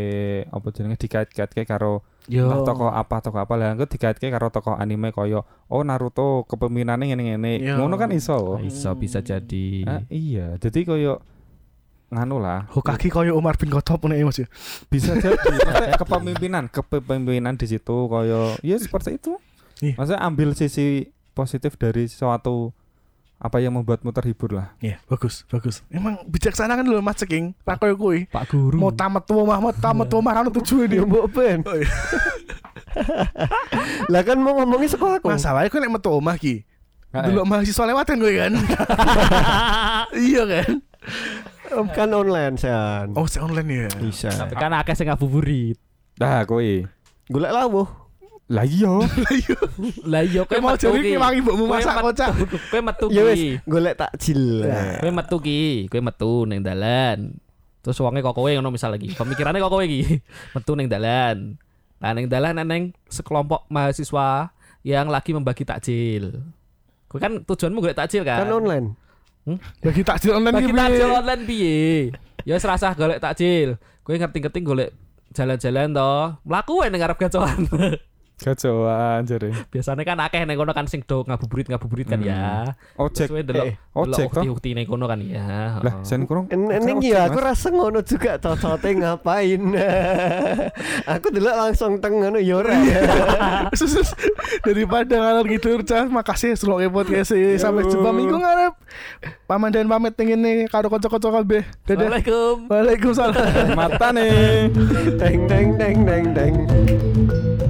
apa jenenge dikait-kaitke karo Iya. Yo. entah tokoh apa tokoh apa lah engko dikait-kaitke karo tokoh anime kaya oh Naruto kepemimpinannya ngene-ngene Iya. ngono kan iso bisa bisa Hmm. jadi Ah, iya jadi kaya nganu lah Hokage koyo Umar bin Khattab ngene Mas. ya. bisa jadi Maksudnya kepemimpinan kepemimpinan di situ koyo ya seperti itu Iya. maksudnya ambil sisi positif dari suatu apa yang membuatmu terhibur lah Iya, bagus, bagus. Emang bijaksana kan lho Mas Ceking, ra koyo kowe. Pak Guru Mau tamat tua mah, mau tamat tua mah ana tujuan dia. Ya mbok ben. Oh, iya. Lah kan mau ngomongin sekolah aku. Masalahnya kowe nek metu omah ki, Heeh. delok mahasiswa lewatan kowe kan. Iya kan? Kan online san. Oh, si online ya. Bisa. tapi kan akeh sing ngabuburit nah kowe Golek lawuh. lah iya lah iya kowe Kowe mau metu jadi ki. ki wangi mbokmu Kowe masak metu- kocak. kowe metu Ya ki Ya. wis, golek takjil. kowe metu ki kowe metu ning dalan Terus wonge kok kowe ngono misal lagi. Pemikirannya kok kowe iki. Metu ning dalan. Nah, ning dalan neng sekelompok mahasiswa yang lagi membagi takjil. Kowe kan tujuanmu golek takjil kan? kan online Bagi takjil online Bagi iki piye? takjil online piye? Ya wis rasah golek takjil. Kowe ngerti-ngerti golek jalan-jalan to. Mlaku wae ning arep gacoan. Kacauan jare. Biasanya kan akeh ning kono kan sing do ngabuburit ngabuburit kan Hmm. ya. Terus Ojek. wae delok eh, delok ojek toh. ukti-ukti ning kono kan ya. Eh, Lah, Heeh. sen kurang. En- Eneng ojek, ya Mas. aku rasa ngono juga cocote ngapain Aku dulu langsung teng ngono ya ora Sus, sus. daripada ngalor gitu cah makasih semoga podcast e. sampai jumpa minggu ngarep paman dan pamit ning ngene karo kanca-kanca kabeh dadah Assalamualaikum. Waalaikumsalam Mata nih. Teng teng teng teng teng